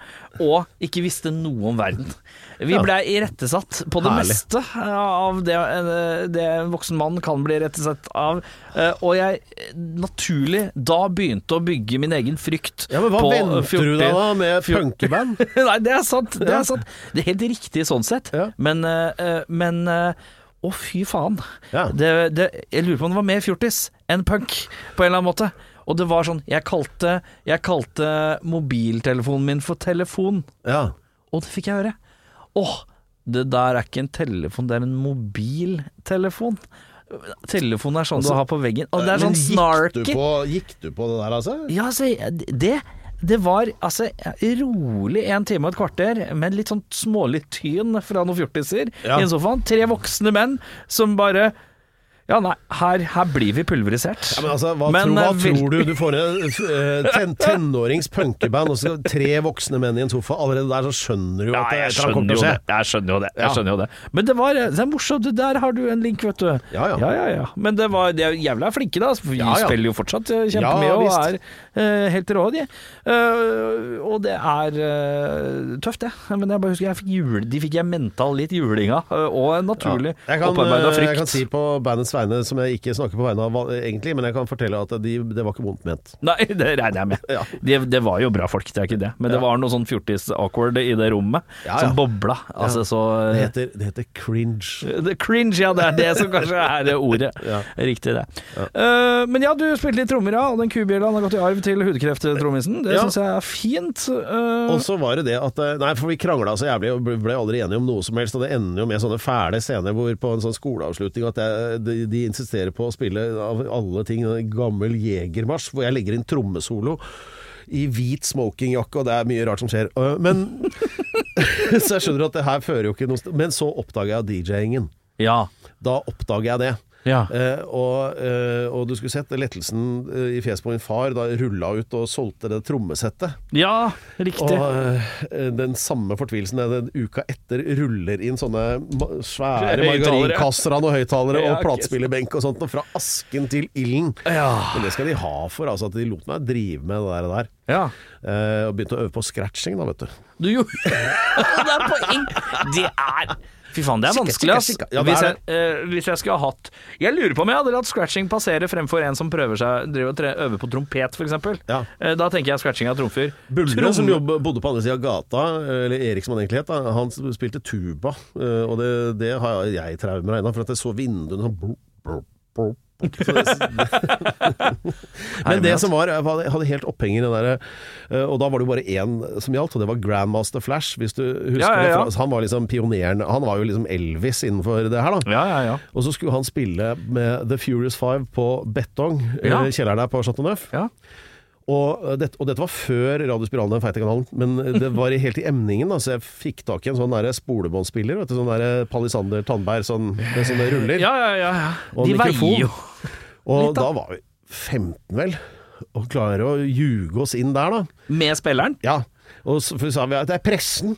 S1: og ikke visste noe om verden. Vi
S2: Ja.
S1: ble irettesatt på det
S2: Herlig.
S1: meste eh, av det, eh, det en voksen mann kan bli irettesatt av, Eh, og jeg naturlig da begynte å bygge min egen frykt
S2: Ja, men Hva
S1: på
S2: venter du
S1: 14
S2: deg da med eh, (laughs) punkeband?
S1: (laughs) Nei, det er sant. Det er sant Det er helt riktig sånn sett.
S2: Ja.
S1: Men, eh, men eh, Å, fy faen.
S2: Ja.
S1: Det, det, jeg lurer på om det var mer fjortis enn punk, på en eller annen måte. Og det var sånn Jeg kalte, jeg kalte mobiltelefonen min for telefon,
S2: Ja.
S1: og det fikk jeg høre. Åh, det der er ikke en telefon, det er en mobiltelefon. Telefonen er sånn du har på veggen. Og det er
S2: Altså, Men
S1: sånn snarky.
S2: Gikk du, på, gikk du på det der, altså?
S1: Ja, altså, det, det var altså rolig en time og et kvarter, men litt sånn smålig tyn fra noen fjortiser
S2: Ja.
S1: i en sofaen. Tre voksne menn som bare Ja, nei, her, her blir vi pulverisert.
S2: Ja, men altså, Hva,
S1: Men,
S2: tror, hva
S1: eh, vil-
S2: tror du? Du får en eh, ten, tenårings punkeband, og så tre voksne menn i en sofa. Allerede der så skjønner du jo
S1: Ja,
S2: at det
S1: jeg
S2: et eller annet
S1: skjønner
S2: kommer til
S1: jo
S2: å
S1: det.
S2: skje.
S1: Jeg skjønner jo det. Jeg
S2: Ja.
S1: skjønner jo det. Men det var eh, det er morsomt. Der har du en link, vet du.
S2: Ja, ja.
S1: ja, ja. Men det var de er jo jævla flinke, da. Vi
S2: Ja, ja.
S1: spiller jo fortsatt eh, kjempemye
S2: Ja,
S1: og er
S2: visst.
S1: eh, helt rå, de. Eh, og det er eh, tøft, det. Men jeg bare husker jeg fikk jule, de fikk jeg mental litt julinga, eh, og en naturlig
S2: Jeg kan,
S1: opparbeida
S2: eh,
S1: frykt.
S2: jeg kan si på bandets vegne, som jeg ikke snakker på vegne av eh, egentlig, men jeg kan fortelle at de, det var ikke vondt ment.
S1: (laughs) Nei, det regner jeg med.
S2: Ja.
S1: Det, det var jo bra folk, det er ikke det. Men det var noe sånn fjortis-awkward i det rommet,
S2: Ja, ja.
S1: som bobla. Altså, så
S2: Det heter, det heter cringe.
S1: The cringe, ja, det er det som kanskje er det (laughs) ordet.
S2: Ja.
S1: Riktig det. Eh, men ja, du spilte litt trommer, ja, og den kubjella har gått i arv til hudkrefttrommisen. Det
S2: Ja.
S1: synes syns jeg er fint. Eh,
S2: Og så var det det at eh, Nei, for vi krangla så jævlig og ble ble aldri enige om noe som helst. Og det ender jo med sånne fæle scener hvor på en sånn skoleavslutning at jeg, de, de insisterer på å spille av alle ting en gammel jegermarsj, hvor jeg legger inn trommesolo i hvit smokingjakke, og det er mye rart som skjer. Øh, Men (laughs) Så jeg skjønner at det her fører jo ikke noe sted. Men så oppdaga jeg DJ-ingen.
S1: Ja.
S2: Da oppdager jeg det.
S1: Ja.
S2: Eh, og, eh, og du skulle sett lettelsen eh, i fjeset på min far da jeg rulla ut og solgte det trommesettet.
S1: ja,
S2: Og
S1: riktig.
S2: eh, den samme fortvilelsen er den uka etter ruller inn sånne ma- svære
S1: Høyttalere.
S2: margarinkasser av noen høyttalere
S1: Ja,
S2: og
S1: ok.
S2: platespillerbenk og sånt, og fra asken til ilden.
S1: Ja.
S2: Men det skal de ha for, altså, at de lot meg drive med det der. Og, der.
S1: ja.
S2: Eh, og begynte å øve på scratching, da, vet du.
S1: Du gjorde (laughs) Det er poeng! Det er Fy faen, det er
S2: Skikka,
S1: vanskelig, ass.
S2: skikka, skikka. Ja, det
S1: hvis,
S2: er
S1: jeg, eh, hvis jeg skulle ha hatt Jeg lurer på om jeg hadde latt scratching passere fremfor en som prøver seg driver og tre, øver på trompet, f.eks.
S2: Ja.
S1: Eh, da tenker jeg scratching av tromfer.
S2: Bulle,
S1: Trom-
S2: som jobb, bodde på andre sida av gata, eller Erik som han egentlig het, da, han spilte tuba. eh, Og det, det har jeg traumer av ennå, for at jeg så vinduene sånn blop, blop, blop. Så det,
S1: (laughs)
S2: men det
S1: altså-
S2: som var, jeg var- jeg hadde helt oppheng i den derre eh, Og da var det jo bare én som gjaldt, og det var Grandmaster Flash, hvis du husker
S1: Ja, ja, ja.
S2: det. for Han var liksom pioneren. Han var jo liksom Elvis innenfor det her, da.
S1: Ja, ja, ja.
S2: Og så skulle han spille med The Furious Five på Betong,
S1: Ja.
S2: eh, kjelleren der på Chateau Neuf.
S1: ja.
S2: Og, eh, dette- og dette var før Radio Spiralen, den feite kanalen, men eh, det var i- helt i emningen. Da, så jeg fikk tak i en sånn derre spolebåndspiller, vet du, sånn derre Palisander Tandberg sånn, med sånne ruller.
S1: ja, ja, ja, ja.
S2: Og
S1: De
S2: mikrofon.
S1: veier jo
S2: og da var vi 15, vel, og klarer å ljuge oss inn der, da.
S1: med spilleren.
S2: Ja. Og så for så sa vi at det er pressen.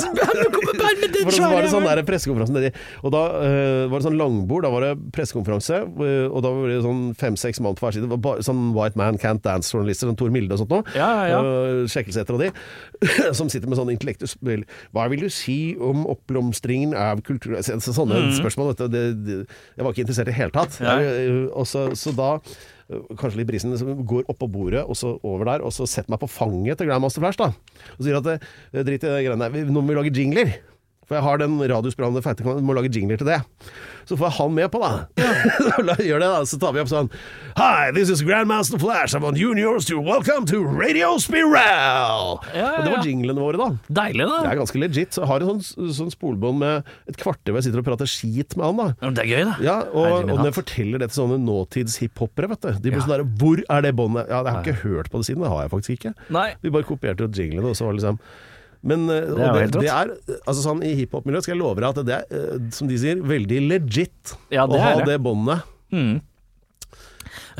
S2: For det var det sånn
S1: Svære-
S2: der pressekonferanse nedi. Og da eh, var det sånn langbord, da var det pressekonferanse, eh, og da var det sånn fem-seks mann på hver side. Det var bare sånn White Man Can't Dance-journalister, sånn Tor Milde og sånt noe.
S1: Ja, ja, ja.
S2: Eh, Sjekkelseter og de. (clears throat) som sitter med sånn intellektuell Hva vil du si om oppblomstringen av kultur Så- så- Sånne spørsmål. Vet du. Det, det, jeg var ikke interessert i det hele tatt.
S1: Mhm. Nei.
S2: Eh, og så, så da eh, Kanskje litt brisen så går oppå bordet og så over der, og så setter meg på fanget til Grandmaster Flash. da Og sier at eh, drit i det greiene der, vi- nå må vi lage jingler. For jeg har den radiospiralen feite kanalen, må lage jingler til det. Så får jeg han med på, da. La- Gjør det, da. (laughs) Så tar vi opp sånn Hi, this is Grandmaster Flash. I'm on juniors to welcome to Radio Spiral.
S1: Ja, ja,
S2: Og
S1: ja.
S2: det var jinglene våre, da.
S1: Deilig, da.
S2: Det er ganske legit. Så jeg har en sånn, sånn spolebånd med et kvarter hvor jeg sitter og prater skit med han, da.
S1: Ja, men Det er gøy, da.
S2: Ja, og,
S1: Herregud,
S2: og når
S1: da.
S2: jeg forteller det til sånne nåtids-hiphopere, vet du De blir
S1: Ja.
S2: sånn der Hvor er det båndet? Ja, jeg har ikke hørt på det siden. Det har jeg faktisk ikke.
S1: Nei.
S2: Vi bare kopierte jo jinglene, og så var det liksom men eh,
S1: er jo
S2: og det,
S1: helt rått.
S2: det er, altså sånn, I hiphop-miljøet skal jeg love deg at det er, eh, som de sier, veldig legit
S1: Ja, det
S2: å ha
S1: er det.
S2: det båndet.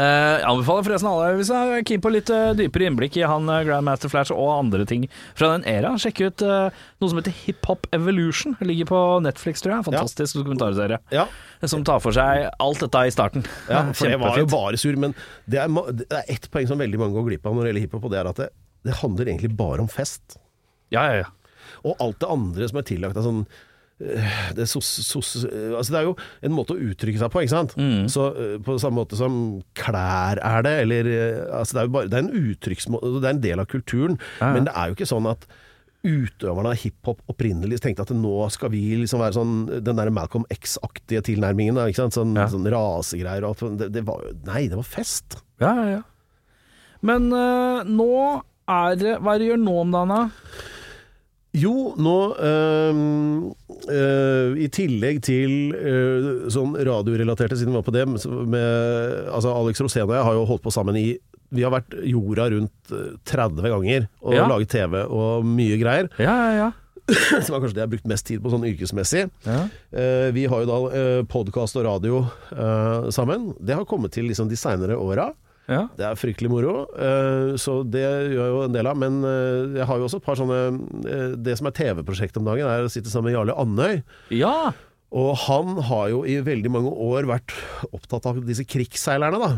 S1: Eh, jeg anbefaler forresten alle, hvis jeg er keen på litt eh, dypere innblikk i han eh, Grandmaster Flash og andre ting fra den era, sjekk ut eh, noe som heter Hip Hop Evolution. Det ligger på Netflix, tror jeg. Fantastisk dokumentarserie.
S2: Ja.
S1: Som tar for seg alt dette i starten.
S2: Ja,
S1: (laughs)
S2: for det var jo
S1: Kjempefint.
S2: bare sur, men det er, ma- det er ett poeng som veldig mange går glipp av når det gjelder hiphop, og det er at det, det handler egentlig bare om fest.
S1: Ja, ja, ja.
S2: Og alt det andre som er tillagt av sånn øh, det, er sos, sos, øh, altså det er jo en måte å uttrykke seg på, ikke sant? Så øh, På samme måte som klær er det, eller øh, altså Det er jo bare, det er en uttrykksmåte, altså det er en del av kulturen. Men det er jo ikke sånn at utøverne av hiphop opprinnelig tenkte at nå skal vi liksom være sånn den der Malcolm X-aktige tilnærmingen. da, Ikke sant? Sånn,
S1: Ja.
S2: sånn rasegreier og alt sånt. det, det var, jo- Nei, det var fest!
S1: ja, ja, ja. Men eh, nå er det Hva er det du gjør nå om dagen, da?
S2: Jo, nå øhm, øh, I tillegg til øh, sånn radiorelaterte, siden vi var på det så med, altså Alex Rosén og jeg har jo holdt på sammen i Vi har vært jorda rundt øh, 30 ganger og
S1: Ja.
S2: laget TV og mye greier. (clears throat)
S1: Ja, ja, ja.
S2: Som er kanskje det jeg har brukt mest tid på sånn yrkesmessig.
S1: Ja.
S2: Eh, vi har jo da uh, podkast og radio eh, sammen. Det har kommet til liksom de seinere åra.
S1: ja.
S2: Det er fryktelig moro, eh, så det gjør jeg jo en del av. Men eh, jeg har jo også et par sånne eh, Det som er TV-prosjektet om dagen, er å sitte sammen med Jarle Andøy.
S1: ja.
S2: Og han har jo i veldig mange år vært opptatt av disse krigsseilerne, da.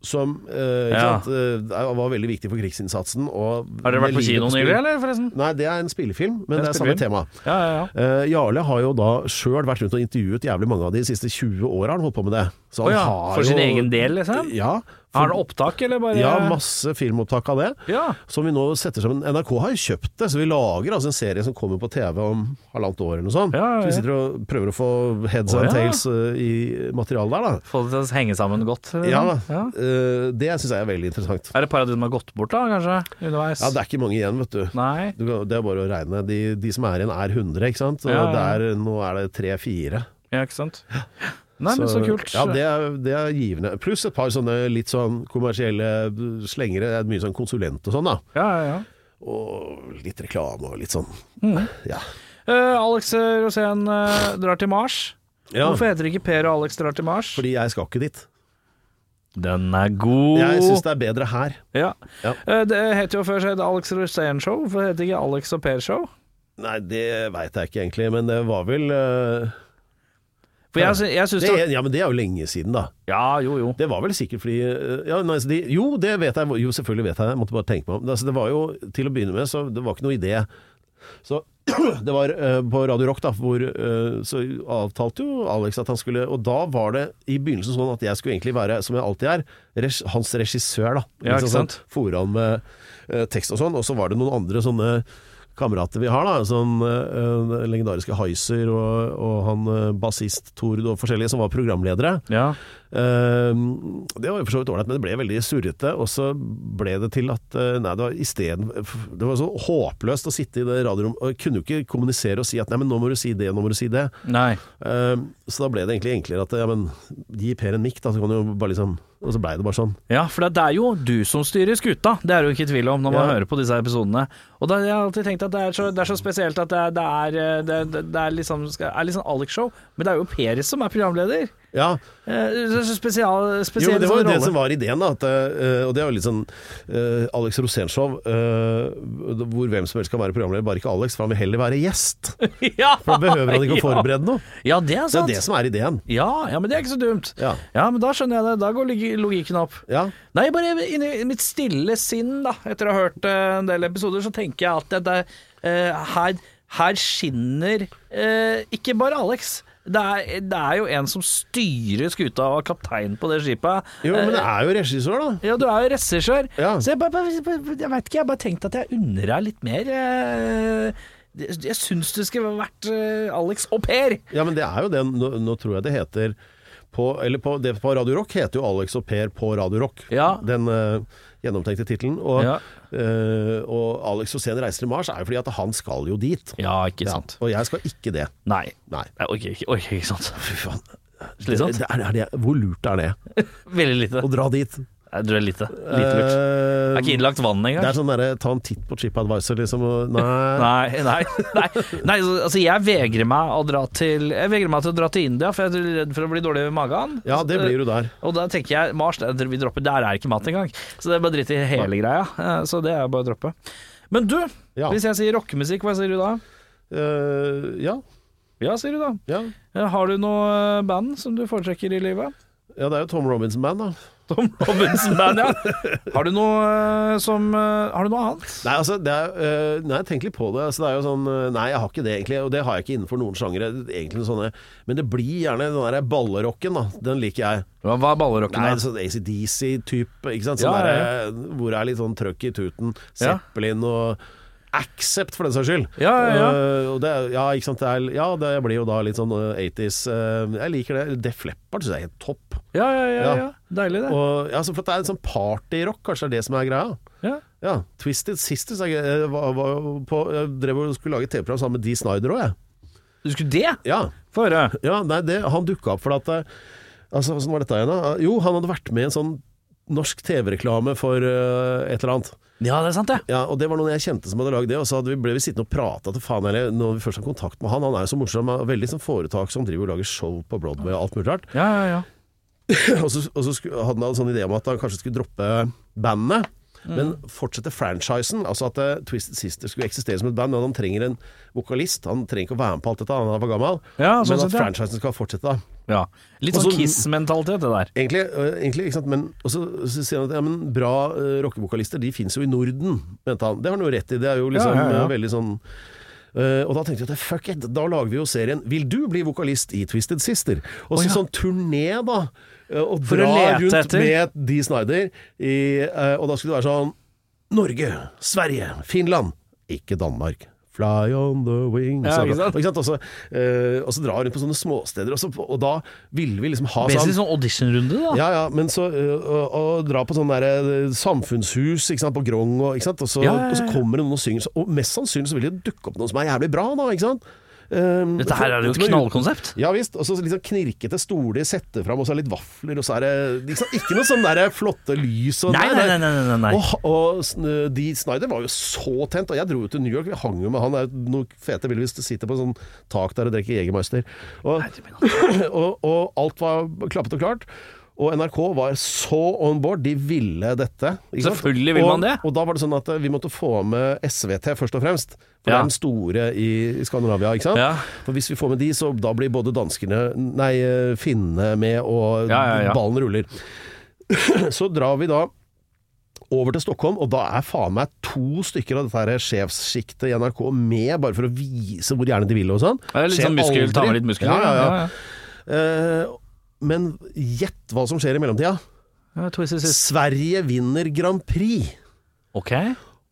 S2: Som eh, ikke
S1: Ja.
S2: sant, eh, var veldig viktig for krigsinnsatsen. Og
S1: Har dere vært på
S2: med livet
S1: kino nylig,
S2: spill.
S1: eller, forresten?
S2: Nei, det er en spillefilm, men
S1: Det er
S2: det er samme
S1: spillefilm.
S2: tema.
S1: Ja, ja, ja.
S2: Eh, Jarle har jo da sjøl vært rundt og intervjuet jævlig mange av de siste 20 åra han holdt på med det.
S1: Å
S2: Så
S1: ja.
S2: har
S1: For sin
S2: jo-
S1: egen del, liksom?
S2: Ja.
S1: Har han opptak, eller bare
S2: ja, masse filmopptak av det.
S1: Ja.
S2: Som vi nå setter sammen. NRK har jo kjøpt det, så vi lager altså en serie som kommer på TV om halvannet år eller noe sånt.
S1: Ja, ja, ja.
S2: Så vi sitter og prøver å få heads
S1: Å,
S2: and
S1: ja.
S2: tails eh, i materialet der, da.
S1: Få det til å henge sammen godt? eller
S2: Ja,
S1: noe?
S2: da. Eh, det syns jeg er veldig interessant.
S1: Er det et par av de som har gått bort, da, kanskje? Underveis?
S2: Ja, det er ikke mange igjen, vet du.
S1: Nei.
S2: du kan- det er bare å regne. De, de som er igjen er 100, ikke sant. Og
S1: Ja, ja, ja.
S2: det er- nå er det 3-4.
S1: Ja, ikke sant? Nei, men så kult.
S2: Ja, det er, det er givende. Pluss et par sånne litt sånn kommersielle slengere. Det er mye sånn konsulent og sånn, da.
S1: ja, ja, ja.
S2: Og litt reklame og litt sånn. Ja.
S1: Eh, Alex Rosén eh, drar til Mars.
S2: ja.
S1: Hvorfor heter det ikke Per og Alex drar til Mars?
S2: Fordi jeg skal ikke dit.
S1: den er god.
S2: Jeg syns det er bedre her.
S1: Ja.
S2: Ja.
S1: Eh, Det het jo før så het det Alex Rosén Show. Hvorfor heter det ikke Alex og Per Show?
S2: Nei, det veit jeg ikke egentlig, men det var vel eh,
S1: For jeg, sy- jeg syns
S2: det
S1: det,
S2: er, Ja, men det er jo lenge siden, da.
S1: Ja, jo, jo.
S2: Det var vel sikkert fordi eh, ja, nei, så de, Jo, det vet jeg. Jo, selvfølgelig vet jeg det. Jeg måtte bare tenke meg om. Altså, det var jo til å begynne med, så det var ikke noe idé. Så (clears throat) det var eh, på Radio Rock, da, hvor eh, så avtalte jo Alex at han skulle Og da var det i begynnelsen sånn at jeg skulle egentlig være, som jeg alltid er, res, hans regissør, da.
S1: Ja, ikke
S2: Liksom
S1: sant?
S2: Sånn, fòre han med eh, tekst og sånn. Og så var det noen andre sånne kamerater vi har, da. Sånn eh, eh, legendariske Heiser og, og han eh, bassist Tord og forskjellige som var programledere.
S1: Ja.
S2: Ehm, Det var jo for så vidt ålreit, men det ble veldig surrete. Og så ble det til at eh, Nei, det var isteden Det var så håpløst å sitte i det radiorommet. Og jeg kunne jo ikke kommunisere og si at nei, men nå må du si det, nå må du si det.
S1: Nei.
S2: Ehm, Så da ble det egentlig enklere at ja, men gi Per en mikk, da, så kan du jo bare liksom Og så blei det bare sånn.
S1: Ja, for det er jo du som styrer skuta, det er det jo ikke tvil om når man
S2: Ja.
S1: hører på disse episodene. Og da har jeg alltid tenkt at det er så, det er så spesielt at det, er- det, er, eh, det, det, det er liksom, skal- er liksom Alex-show, men det er jo Peris som er programleder.
S2: Ja,
S1: Eh, Det er så spesial,
S2: jo,
S1: spesiell
S2: men det var jo
S1: sånn
S2: det
S1: rolle.
S2: som var ideen, da. At, eh, og det er jo litt sånn eh, Alex Rosénshow, hvor hvem som helst kan være programleder, bare ikke Alex, for han vil heller være gjest.
S1: (laughs) ja,
S2: For da behøver han ikke å
S1: (laughs) Ja.
S2: forberede noe.
S1: ja, det er
S2: Det er
S1: sant.
S2: det som er ideen.
S1: Ja, ja, men det er ikke så dumt.
S2: Ja.
S1: men da skjønner jeg det. Da går logi- logikken opp.
S2: Ja.
S1: Nei, bare inni mitt stille sinn, da, etter å ha hørt eh, en del episoder, så tenker jeg at det, det, eh, her, her skinner eh, ikke bare Alex. Det er, det er jo en som styrer skuta og er kaptein på det skipet.
S2: Jo, men
S1: Eh,
S2: det er jo regissør, da.
S1: ja, du er jo regissør.
S2: Ja.
S1: Så jeg, bare, bare, bare, jeg vet ikke, jeg har bare tenkt at jeg unner deg litt mer. eh, det- Jeg syns det skulle vært eh, Alex og Per.
S2: Ja, men det er jo det. Nå, nå tror jeg det heter på, eller på, det på Radio Rock heter jo Alex og Per på Radio Rock.
S1: Ja.
S2: Den eh, gjennomtenkte tittelen. Og,
S1: Ja.
S2: eh, og Alex Rosén reiser til Mars er jo fordi at han skal jo dit.
S1: Ja, ikke
S2: Ja, og jeg skal ikke det.
S1: Nei.
S2: Nei.
S1: Jeg orker ikke, orker ikke sånt. (laughs)
S2: Fy faen.
S1: Slitsomt.
S2: Det, er, er det, hvor lurt er det
S1: Veldig lite.
S2: å dra dit?
S1: Jeg tror det er lite. Lite lurt.
S2: Eh,
S1: Det er ikke innlagt vann
S2: det
S1: engang.
S2: er sånn derre ta en titt på ChipAdvisor, liksom. Og, nei.
S1: (laughs) Nei, nei, nei, nei, altså jeg vegrer meg å dra til Jeg vegrer meg til å dra til India, for jeg er redd for å bli dårlig i magen.
S2: Ja, det blir du der.
S1: Og da tenker jeg Mars, der, vi dropper, der er ikke mat engang. Så det er bare dritt i hele greia. Eh, Så det er bare å droppe. Men du,
S2: Ja.
S1: hvis jeg sier rockemusikk, hva sier du da?
S2: Eh, ja,
S1: Ja, sier du da.
S2: ja.
S1: Eh, Har du noe eh, band som du foretrekker i
S2: (laughs)
S1: livet?
S2: Ja, det er jo Tom Robinson-band, da.
S1: Tom Robinson-band, ja. Har du noe eh, som eh, Har du noe annet?
S2: Nei, altså, det er, øh, nei, tenk litt på det. Altså, det er jo sånn, øh, nei, jeg har ikke det egentlig, og det har jeg ikke innenfor noen sjangere. Egentlig noen sånne, men det blir gjerne den der ballerocken, da. Den liker jeg.
S1: Hva hva er ballerocken?
S2: Nei,
S1: da?
S2: sånn ACDC-type, ikke sant. Sånn
S1: Ja, ja,
S2: der, øh, hvor det er litt sånn trøkk i tuten.
S1: Ja.
S2: Zeppelin og Accept, for den saks skyld.
S1: Ja, ja, ja.
S2: Øh, og det, er- ja, ikke sant. Det er, ja, det blir jo da litt sånn øh, 80s. øh, jeg liker det. Def Leppard syns jeg er helt topp.
S1: Ja, ja, ja,
S2: Ja.
S1: ja. Deilig, det.
S2: Og, ja, så for at det er en sånn partyrock, kanskje det er det som er greia.
S1: Ja.
S2: Ja, Twisted Sisters jeg, jeg, var, var jo på, jeg drev og skulle lage et TV-program sammen med Dee Snyder òg, jeg.
S1: Du skulle det?
S2: Ja.
S1: Få høre.
S2: ja nei, det, han dukka opp fordi at eh, altså, Hvordan var dette igjen, da? Jo, han hadde vært med i en sånn norsk TV-reklame for eh, et eller annet.
S1: Ja, det er sant, det.
S2: Ja, og Det var noen jeg kjente som hadde lagd det, og så hadde vi, ble vi sittende og prata til faen eller når vi først har kontakt med han. Han er jo så morsom, og veldig sånn foretak som driver og lager show på Broadway og alt mulig rart.
S1: Ja, ja, ja.
S2: Og så, og så sku- hadde han en sånn idé om at han kanskje skulle droppe bandet, men
S1: Mm.
S2: fortsette franchisen. Altså at eh, Twisted Sister skulle eksistere som et band, men han trenger en vokalist. Han trenger ikke å være med på alt dette, han er for gammel.
S1: Ja, sånn
S2: men
S1: sett,
S2: at
S1: ja.
S2: franchisen skal fortsette, da.
S1: ja. Litt
S2: Og
S1: sånn
S2: så-
S1: Kiss-mentalitet, det der.
S2: Egentlig, øh, egentlig ikke sant? Men, og så, så sier han at ja, men bra øh, rockevokalister de finnes jo i Norden, mente han. Det har han jo rett i. Det er jo liksom
S1: Ja, ja, ja.
S2: øh, veldig sånn øh, og da tenkte jeg at fuck it, da lager vi jo serien 'Vil du bli vokalist i Twisted Sister?' Og så
S1: Å, ja.
S2: sånn turné, da. øh, Og
S1: For å
S2: dra
S1: lete
S2: rundt
S1: etter.
S2: med Dee Snyder. I, øh, og da skulle det være sånn Norge, Sverige, Finland. Ikke Danmark. Fly on the wing.
S1: Ja, ikke sant?
S2: Og, og, så, øh, og så drar hun på sånne småsteder, og, så, og da ville vi liksom ha
S1: Basically
S2: sånn
S1: sånn auditionrunde, da.
S2: ja, ja, men så ø, å, å dra på sånn der ø, samfunnshus ikke sant, på Grong, og, ikke sant? Og, så,
S1: Ja, ja, ja.
S2: og så kommer det noen og synger, så- og mest sannsynlig så vil det dukke opp noen som er jævlig bra, da, ikke sant? Um,
S3: Dette her er jo et
S2: men-
S3: knallkonsept.
S2: Ja visst. Og så litt sånn knirkete stoler, sette fram, og så er det litt vafler, og så er det liksom, Ikke noe sånn der flotte lys og
S3: Nei, nei, nei, nei, nei, nei.
S2: Og, og Sn- de Snyder var jo så tent, og jeg dro jo til New York, vi hang jo med han, det er jo noe fete bilder hvis du sitter på en sånn tak der og drikker Jegermeister. Og, (clears throat) og, og alt var klappet og klart. Og NRK var så on board, de ville dette. ikke sant?
S1: Selvfølgelig vil
S2: og,
S1: man det.
S2: Og da var det sånn at eh, vi måtte få med SVT først og fremst. For
S1: Ja.
S2: det er den store i i Skandinavia, ikke sant?
S1: Ja.
S2: For hvis vi får med de, så da blir både danskene, nei, eh, finnene med, og
S1: Ja, ja, ja.
S2: ballen ruller. (clears throat) så drar vi da over til Stockholm, og da er faen meg to stykker av dette her sjefssjiktet i NRK med, bare for å vise hvor gjerne de vil og sånn.
S1: Det er litt
S2: Skjer
S1: sånn muskel, ta
S2: aldri.
S1: med litt muskler.
S2: Ja, ja, ja. Eh, men gjett hva som skjer i mellomtida.
S1: Ja, twist is this.
S2: Sverige vinner Grand Prix.
S1: Ok.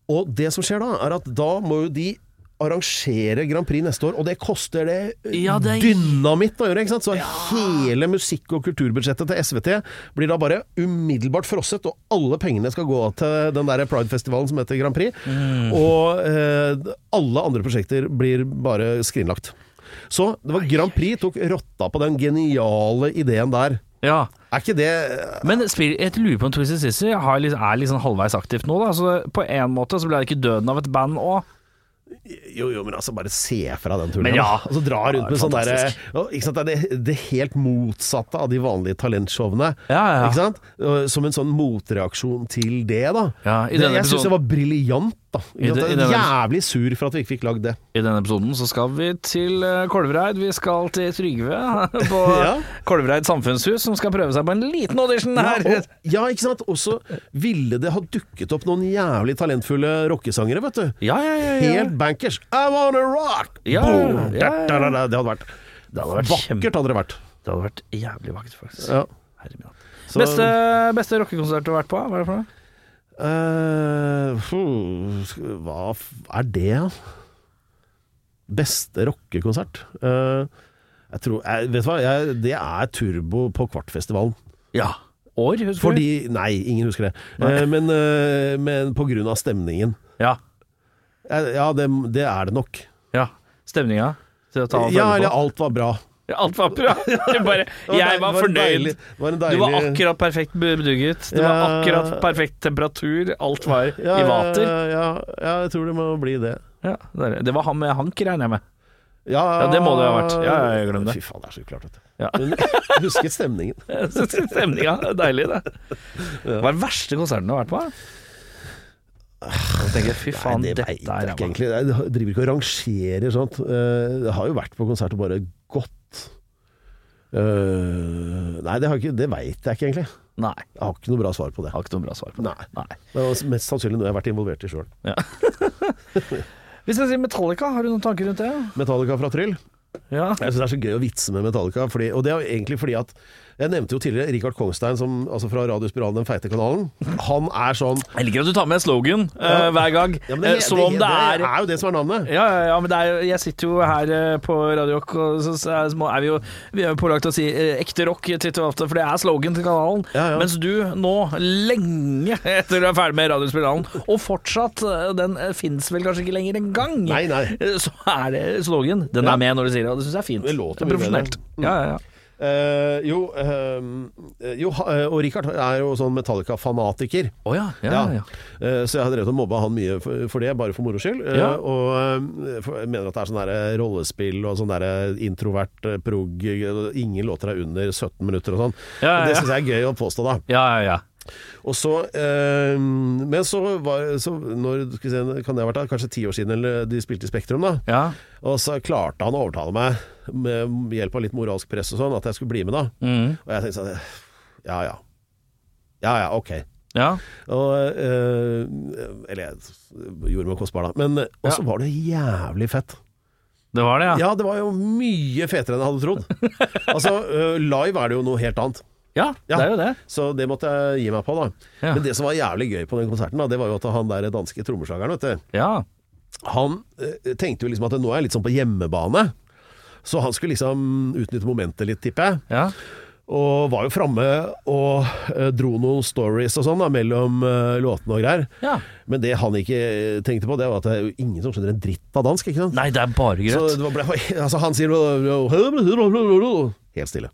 S2: Og det som skjer da, er at da må jo de arrangere Grand Prix neste år, og det koster det, eh,
S1: Ja, det er-
S2: dynamitt å gjøre, ikke sant? Så hele musikk- og kulturbudsjettet til SVT blir da bare umiddelbart frosset, og alle pengene skal gå til den der Pride-festivalen som heter Grand Prix,
S1: Mm.
S2: og eh, alle andre prosjekter blir bare skrinlagt. Så det var Grand Prix tok rotta på den geniale ideen der.
S1: Ja.
S2: Er ikke det eh,
S1: Men spill, jeg lurer på om Twisted Sister har litt- er litt sånn halvveis aktivt nå, da. Så på en måte så ble det ikke døden av et band òg.
S2: Jo, jo, men altså, bare se fra den turen.
S1: Men ja.
S2: da. Og så dra
S1: det
S2: rundt
S1: er
S2: med sånn derre
S1: fantastisk.
S2: ja, Ikke sant, det, er det- det helt motsatte av de vanlige talentshowene.
S1: Ja, ja, ja.
S2: Ikke sant? Og Som en sånn motreaksjon til det, da.
S1: Ja, i
S2: Det-
S1: denne
S2: jeg syns det
S1: episoden-
S2: var briljant, da.
S1: I
S2: Ikke sant?
S1: den- i
S2: Jeg er
S1: denne-
S2: Jævlig sur for at vi ikke fikk lagd det.
S1: I denne episoden så skal vi til eh, Kolvereid. Vi skal til Trygve (laughs) på
S2: Ja.
S1: Kolvereid samfunnshus, som skal prøve seg på en liten audition her.
S2: Ja, og, ja, ikke sant. Og så ville det ha dukket opp noen jævlig talentfulle rockesangere, vet du.
S1: Ja, ja, ja, ja.
S2: Helt bankers. I wanna rock!
S1: Ja,
S2: Boom!
S1: ja, ja.
S2: Da, da, da, da. Det hadde vært
S1: Det hadde vært
S2: Vakkert hadde det vært.
S1: Det hadde vært jævlig vakkert, faktisk.
S2: Ja.
S1: Herre min hatt.
S2: Så-
S1: Beste, beste rockekonsert du har vært på? Hva er det for noe?
S2: Eh, fu- sk- hva f- er det? da? Beste rockekonsert? Eh, jeg tror, jeg, vet du hva, jeg, det er Turbo på Kvartfestivalen.
S1: Ja. År, husker du?
S2: Fordi Nei, ingen husker det. Eh, men, eh, men på grunn av stemningen.
S1: Ja.
S2: Eh, ja, det, det er det nok.
S1: ja. Stemninga? Til å ta og
S2: Ja,
S1: føle
S2: eller
S1: på.
S2: alt var bra.
S1: Alt var
S2: (laughs)
S1: bra. Det bare,
S2: Det deil-
S1: jeg var
S2: det en
S1: fornøyd.
S2: deilig- det var en
S1: Du var
S2: deilig-
S1: akkurat perfekt bedugget. Det var
S2: Ja.
S1: akkurat perfekt temperatur. Alt var
S2: ja,
S1: i vater.
S2: Ja, ja, ja, jeg tror det må bli det.
S1: Ja, det er- det var han med hank, regner jeg med. (laughs)
S2: Ja,
S1: Ja, det må det ha vært. Ja, ja, jeg glemmer det.
S2: Fy faen, det er så uklart, vet du.
S1: Ja.
S2: Men husket stemningen.
S1: Stemninga. det er Deilig, det. Hva er den verste konserten du har vært på? Jeg tenker, fy faen,
S2: Ah, Nei, det
S1: dette
S2: vet
S1: er
S2: jeg ikke
S1: ræva.
S2: egentlig. Jeg driver ikke og rangerer sånt. Eh, Jeg har jo vært på konsert og bare gått. Eh, nei, det, har jeg ikke, det veit jeg ikke egentlig.
S1: Nei.
S2: Jeg har ikke noe bra svar på det.
S1: Jeg har ikke noe bra svar på det.
S2: Nei. Det var mest sannsynlig noe jeg har vært involvert i sjøl.
S1: Hvis jeg sier Metallica, har du noen tanker rundt det?
S2: Metallica fra Tryll.
S1: Ja.
S2: Jeg synes det er så gøy å vitse med Metallica. Fordi, og det er jo egentlig fordi at Jeg nevnte jo tidligere Rikard Kongstein, som, altså fra Radio Spiral, den feite kanalen. Han er sånn
S1: Jeg liker at du tar med slogan eh, hver gang,
S2: Ja, men
S1: eh, som om det,
S2: det
S1: er
S2: er jo det som er navnet.
S1: ja, ja, ja, men det er, jo- jeg sitter jo her eh, på Radio Rock, og så så er så må- er vi jo Vi er jo pålagt å si eh, ekte rock titt og ofte, for det er slogan til kanalen.
S2: Ja, ja.
S1: Mens du nå, lenge etter du er ferdig med Radiospillkanalen, og fortsatt eh, Den fins vel kanskje ikke lenger engang,
S2: Nei, nei.
S1: eh, så er det slogan. Den
S2: Ja.
S1: er med når du sier det, og det syns jeg er fint.
S2: Det låter
S1: er
S2: mye
S1: profesjonelt.
S2: bedre.
S1: Ja, ja, ja.
S2: Eh, jo, eh, jo, ha- eh, og Rikard er jo sånn Metallica-fanatiker.
S1: Å ja, ja,
S2: Ja.
S1: ja.
S2: Eh, Så jeg har drevet og mobba han mye for for det, bare for moro skyld. Eh,
S1: Ja.
S2: Og eh, for- jeg mener at det er sånn der rollespill og sånn der introvert eh, prog eh, Ingen låter er under 17 minutter og sånn.
S1: Ja, ja,
S2: Og Det
S1: ja.
S2: syns jeg er gøy å påstå, da.
S1: ja, ja, ja.
S2: Og så, eh, men så var så når, skal vi se, Kan det ha vært da, kanskje ti år siden eller eh, de spilte i Spektrum, da.
S1: ja.
S2: Og så klarte han å overtale meg, med hjelp av litt moralsk press og sånn, at jeg skulle bli med, da.
S1: Mm.
S2: Og jeg tenkte sånn Ja ja. Ja ja, ok.
S1: ja.
S2: Og, eh, eller jeg gjorde meg kostbar, da. Men eh, Og så
S1: Ja.
S2: var det jævlig fett.
S1: Det var det, ja.
S2: Ja, det var jo mye fetere enn jeg hadde
S1: (laughs)
S2: trodd. altså, eh, live er det jo noe helt annet.
S1: Ja,
S2: Ja.
S1: det er jo det.
S2: Så det måtte jeg gi meg på, da.
S1: Ja.
S2: Men det som var jævlig gøy på den konserten, da, det var jo at han der danske trommeslageren, vet du,
S1: Ja.
S2: han eh, tenkte jo liksom at nå er jeg litt sånn på hjemmebane. Så han skulle liksom utnytte momentet litt, tipper jeg.
S1: ja.
S2: Og var jo framme og eh, dro noen stories og sånn da, mellom eh, låtene og greier.
S1: Ja.
S2: Men det han ikke eh, tenkte på, det var at det er jo ingen som skjønner en dritt av dansk. ikke sant?
S1: Nei, det er bare grøt.
S2: Så det var- ble, (laughs) altså, han sier Helt stille.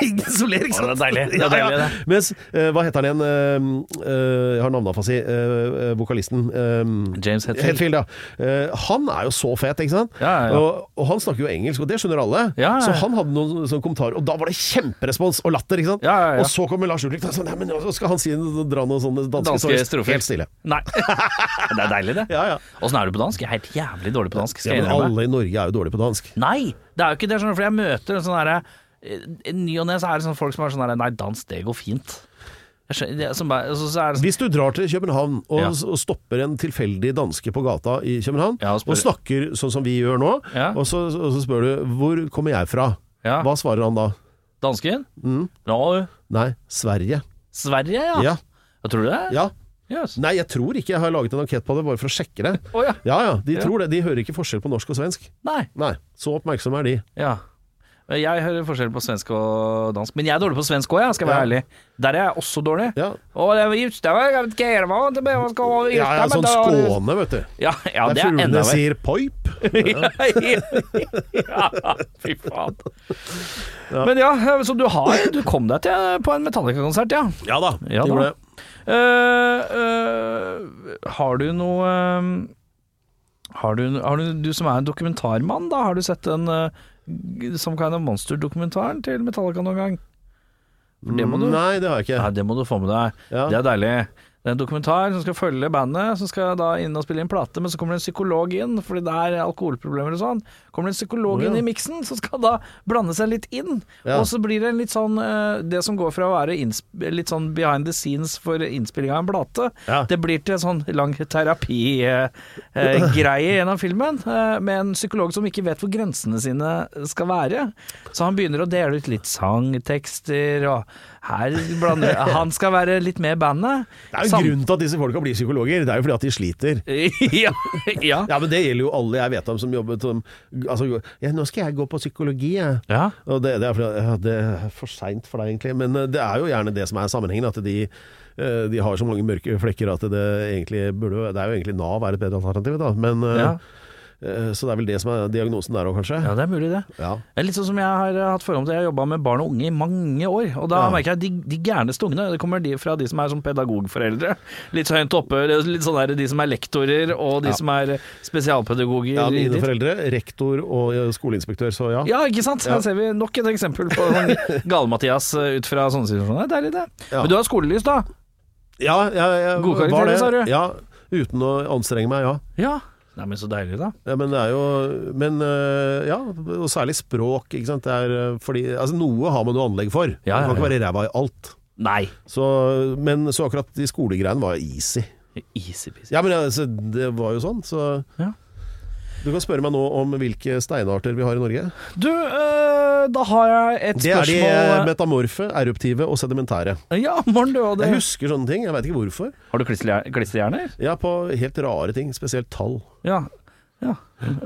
S2: Ingen som ler, ikke sant?
S1: Å, det er deilig. Det er deilig, det.
S2: Mens, eh, hva heter han igjen? Eh, eh, jeg har navnefasi. Uh, vokalisten. eh,
S1: James Hetfield.
S2: Hetfield, ja. Eh, han er jo så fet, ikke sant?
S1: Ja, ja, ja.
S2: Og, og han snakker jo engelsk, og det skjønner alle.
S1: Ja, ja, ja.
S2: Så han hadde noen sånne kommentarer, og da var det kjemperespons og latter, ikke sant?
S1: Ja, ja, ja.
S2: Og så kommer Lars Ulrik, og sånn, nei, men så skal han si, dra noen sånne danske,
S1: Danske
S2: stories.
S1: strofer.
S2: Helt stille.
S1: Nei. (laughs) Det er deilig, det.
S2: Ja, ja.
S1: Åssen er du på dansk? Jeg er helt jævlig dårlig på dansk.
S2: Ja,
S1: Skal jeg
S2: men
S1: innrømme.
S2: alle i Norge er jo dårlige på dansk.
S1: Nei, det er jo ikke det, skjønner du, for jeg møter en sånn derre eh, Ny og ne så er det sånn folk som er sånn derre Nei, dans, det går fint. Jeg skjønner, det, er som bare, så, så er det sånn
S2: Hvis du drar til København og,
S1: Ja.
S2: og stopper en tilfeldig danske på gata i København,
S1: Ja, og
S2: og,
S1: spør-
S2: snakker sånn som vi gjør nå,
S1: Ja.
S2: og, så, og så spør du 'hvor kommer jeg fra',
S1: Ja.
S2: hva svarer han da?
S1: Dansken? Bra, jo.
S2: Nei, Sverige.
S1: Sverige, ja.
S2: Ja.
S1: Hva tror du det?
S2: ja.
S1: Yes.
S2: Nei, jeg tror ikke jeg har laget en ankett på det, bare for å sjekke det.
S1: Å, ja.
S2: Ja ja, de tror det. De hører ikke forskjell på norsk og svensk.
S1: Nei.
S2: Nei, så oppmerksomme er de.
S1: Ja. Men Jeg hører forskjell på svensk og dansk, men jeg er dårlig på svensk òg, skal jeg være
S2: Ja.
S1: ærlig. Der er jeg også dårlig.
S2: Ja.
S1: Og det var just det, jeg vet ikke hva det ble, man skal ha just
S2: Ja, ja,
S1: det, men
S2: sånn
S1: da-
S2: Skåne, vet du.
S1: Ja, ja, det
S2: Der
S1: er enda
S2: fuglene
S1: verre.
S2: sier 'poip'.
S1: (laughs) ja, fy faen. Men ja, så du har Du kom deg til på en Metallica-konsert, ja.
S2: Ja da.
S1: Ja
S2: de
S1: da.
S2: gjorde det.
S1: Eh, eh, har du noe eh, har du, har du, du som er en dokumentarmann, da, har du sett en uh, Some Kind of Monster-dokumentaren til Metallica noen gang? For det må du
S2: Nei, det har jeg
S1: Nei,
S2: ikke.
S1: det må du få med deg.
S2: Ja.
S1: Det er deilig. Det er en dokumentar som skal følge bandet, som skal da inn og spille inn plate, men så kommer det en psykolog inn, fordi det er alkoholproblemer og sånn. Kommer det en psykolog
S2: Å, ja.
S1: inn i miksen, som skal da blande seg litt inn.
S2: Ja.
S1: Og så blir det en litt sånn eh, Det som går fra å være innsp litt sånn behind the scenes for innspilling av en plate,
S2: Ja.
S1: det blir til en sånn lang
S2: (laughs)
S1: terapigreie gjennom filmen, eh, med en psykolog som ikke vet hvor grensene sine skal være. Så han begynner å dele ut litt sangtekster, og her
S2: (laughs)
S1: blander Han skal være litt med i bandet.
S2: Det er jo en grunn til at disse folka blir psykologer. Det er jo fordi at de sliter.
S1: (laughs) ja, ja.
S2: Ja, men det gjelder jo alle jeg vet om som jobber som altså, ja, 'Nå skal jeg gå på psykologi', jeg.
S1: Ja.
S2: Og det, det, er, fordi- ja, det er for seint for deg, egentlig. Men eh, det er jo gjerne det som er sammenhengen. At de, eh, de har så mange mørke flekker at det egentlig burde jo- Det er jo egentlig Nav er et bedre alternativ, da. Men, eh,
S1: Ja.
S2: eh, Så det er vel det som er diagnosen der òg, kanskje.
S1: Ja, det er mulig det.
S2: Ja.
S1: Det er litt sånn som jeg har eh, hatt forhold til, jeg har jobba med barn og unge i mange år. Og da
S2: Ja.
S1: merker jeg at de, de gærneste ungene, det kommer de fra de som er sånn pedagogforeldre. Litt så høyt oppe, litt sånn der de som er lektorer og de som er eh, spesialpedagoger.
S2: Ja,
S1: i
S2: mine
S1: ditt.
S2: foreldre, rektor og eh, skoleinspektør, så ja.
S1: Ja, ikke sant? Her ser vi nok et eksempel på sånn
S2: (laughs)
S1: Gale-Mathias eh, ut fra sånne situasjoner. Det er litt det.
S2: Ja.
S1: Men du har skolelys, da?
S2: Ja, jeg- jeg
S1: Gode
S2: var
S1: karakterer,
S2: det.
S1: sa du?
S2: Ja, uten å anstrenge meg, ja.
S1: Ja. Nei, men så deilig, da.
S2: Ja, men det er jo Men øh, ja, og særlig språk, ikke sant. Det er øh, fordi Altså, noe har man jo anlegg for.
S1: Ja, ja,
S2: Man kan
S1: ja.
S2: ikke være ræva i alt.
S1: Nei.
S2: Så, men så akkurat de skolegreiene var jo easy.
S1: Easy-peasy.
S2: Ja, men altså, det var jo sånn, så
S1: Ja.
S2: Du kan spørre meg nå om hvilke steinarter vi har i Norge.
S1: Du, eh, da har jeg et
S2: Det er de eh,
S1: spørsmål
S2: metamorfe, eruptive og sedimentære.
S1: Ja, morgen du og det.
S2: Jeg husker sånne ting, jeg veit ikke hvorfor.
S1: Har du klisterhjer- klisterhjerner?
S2: Ja, på helt rare ting, spesielt tall.
S1: Ja. ja.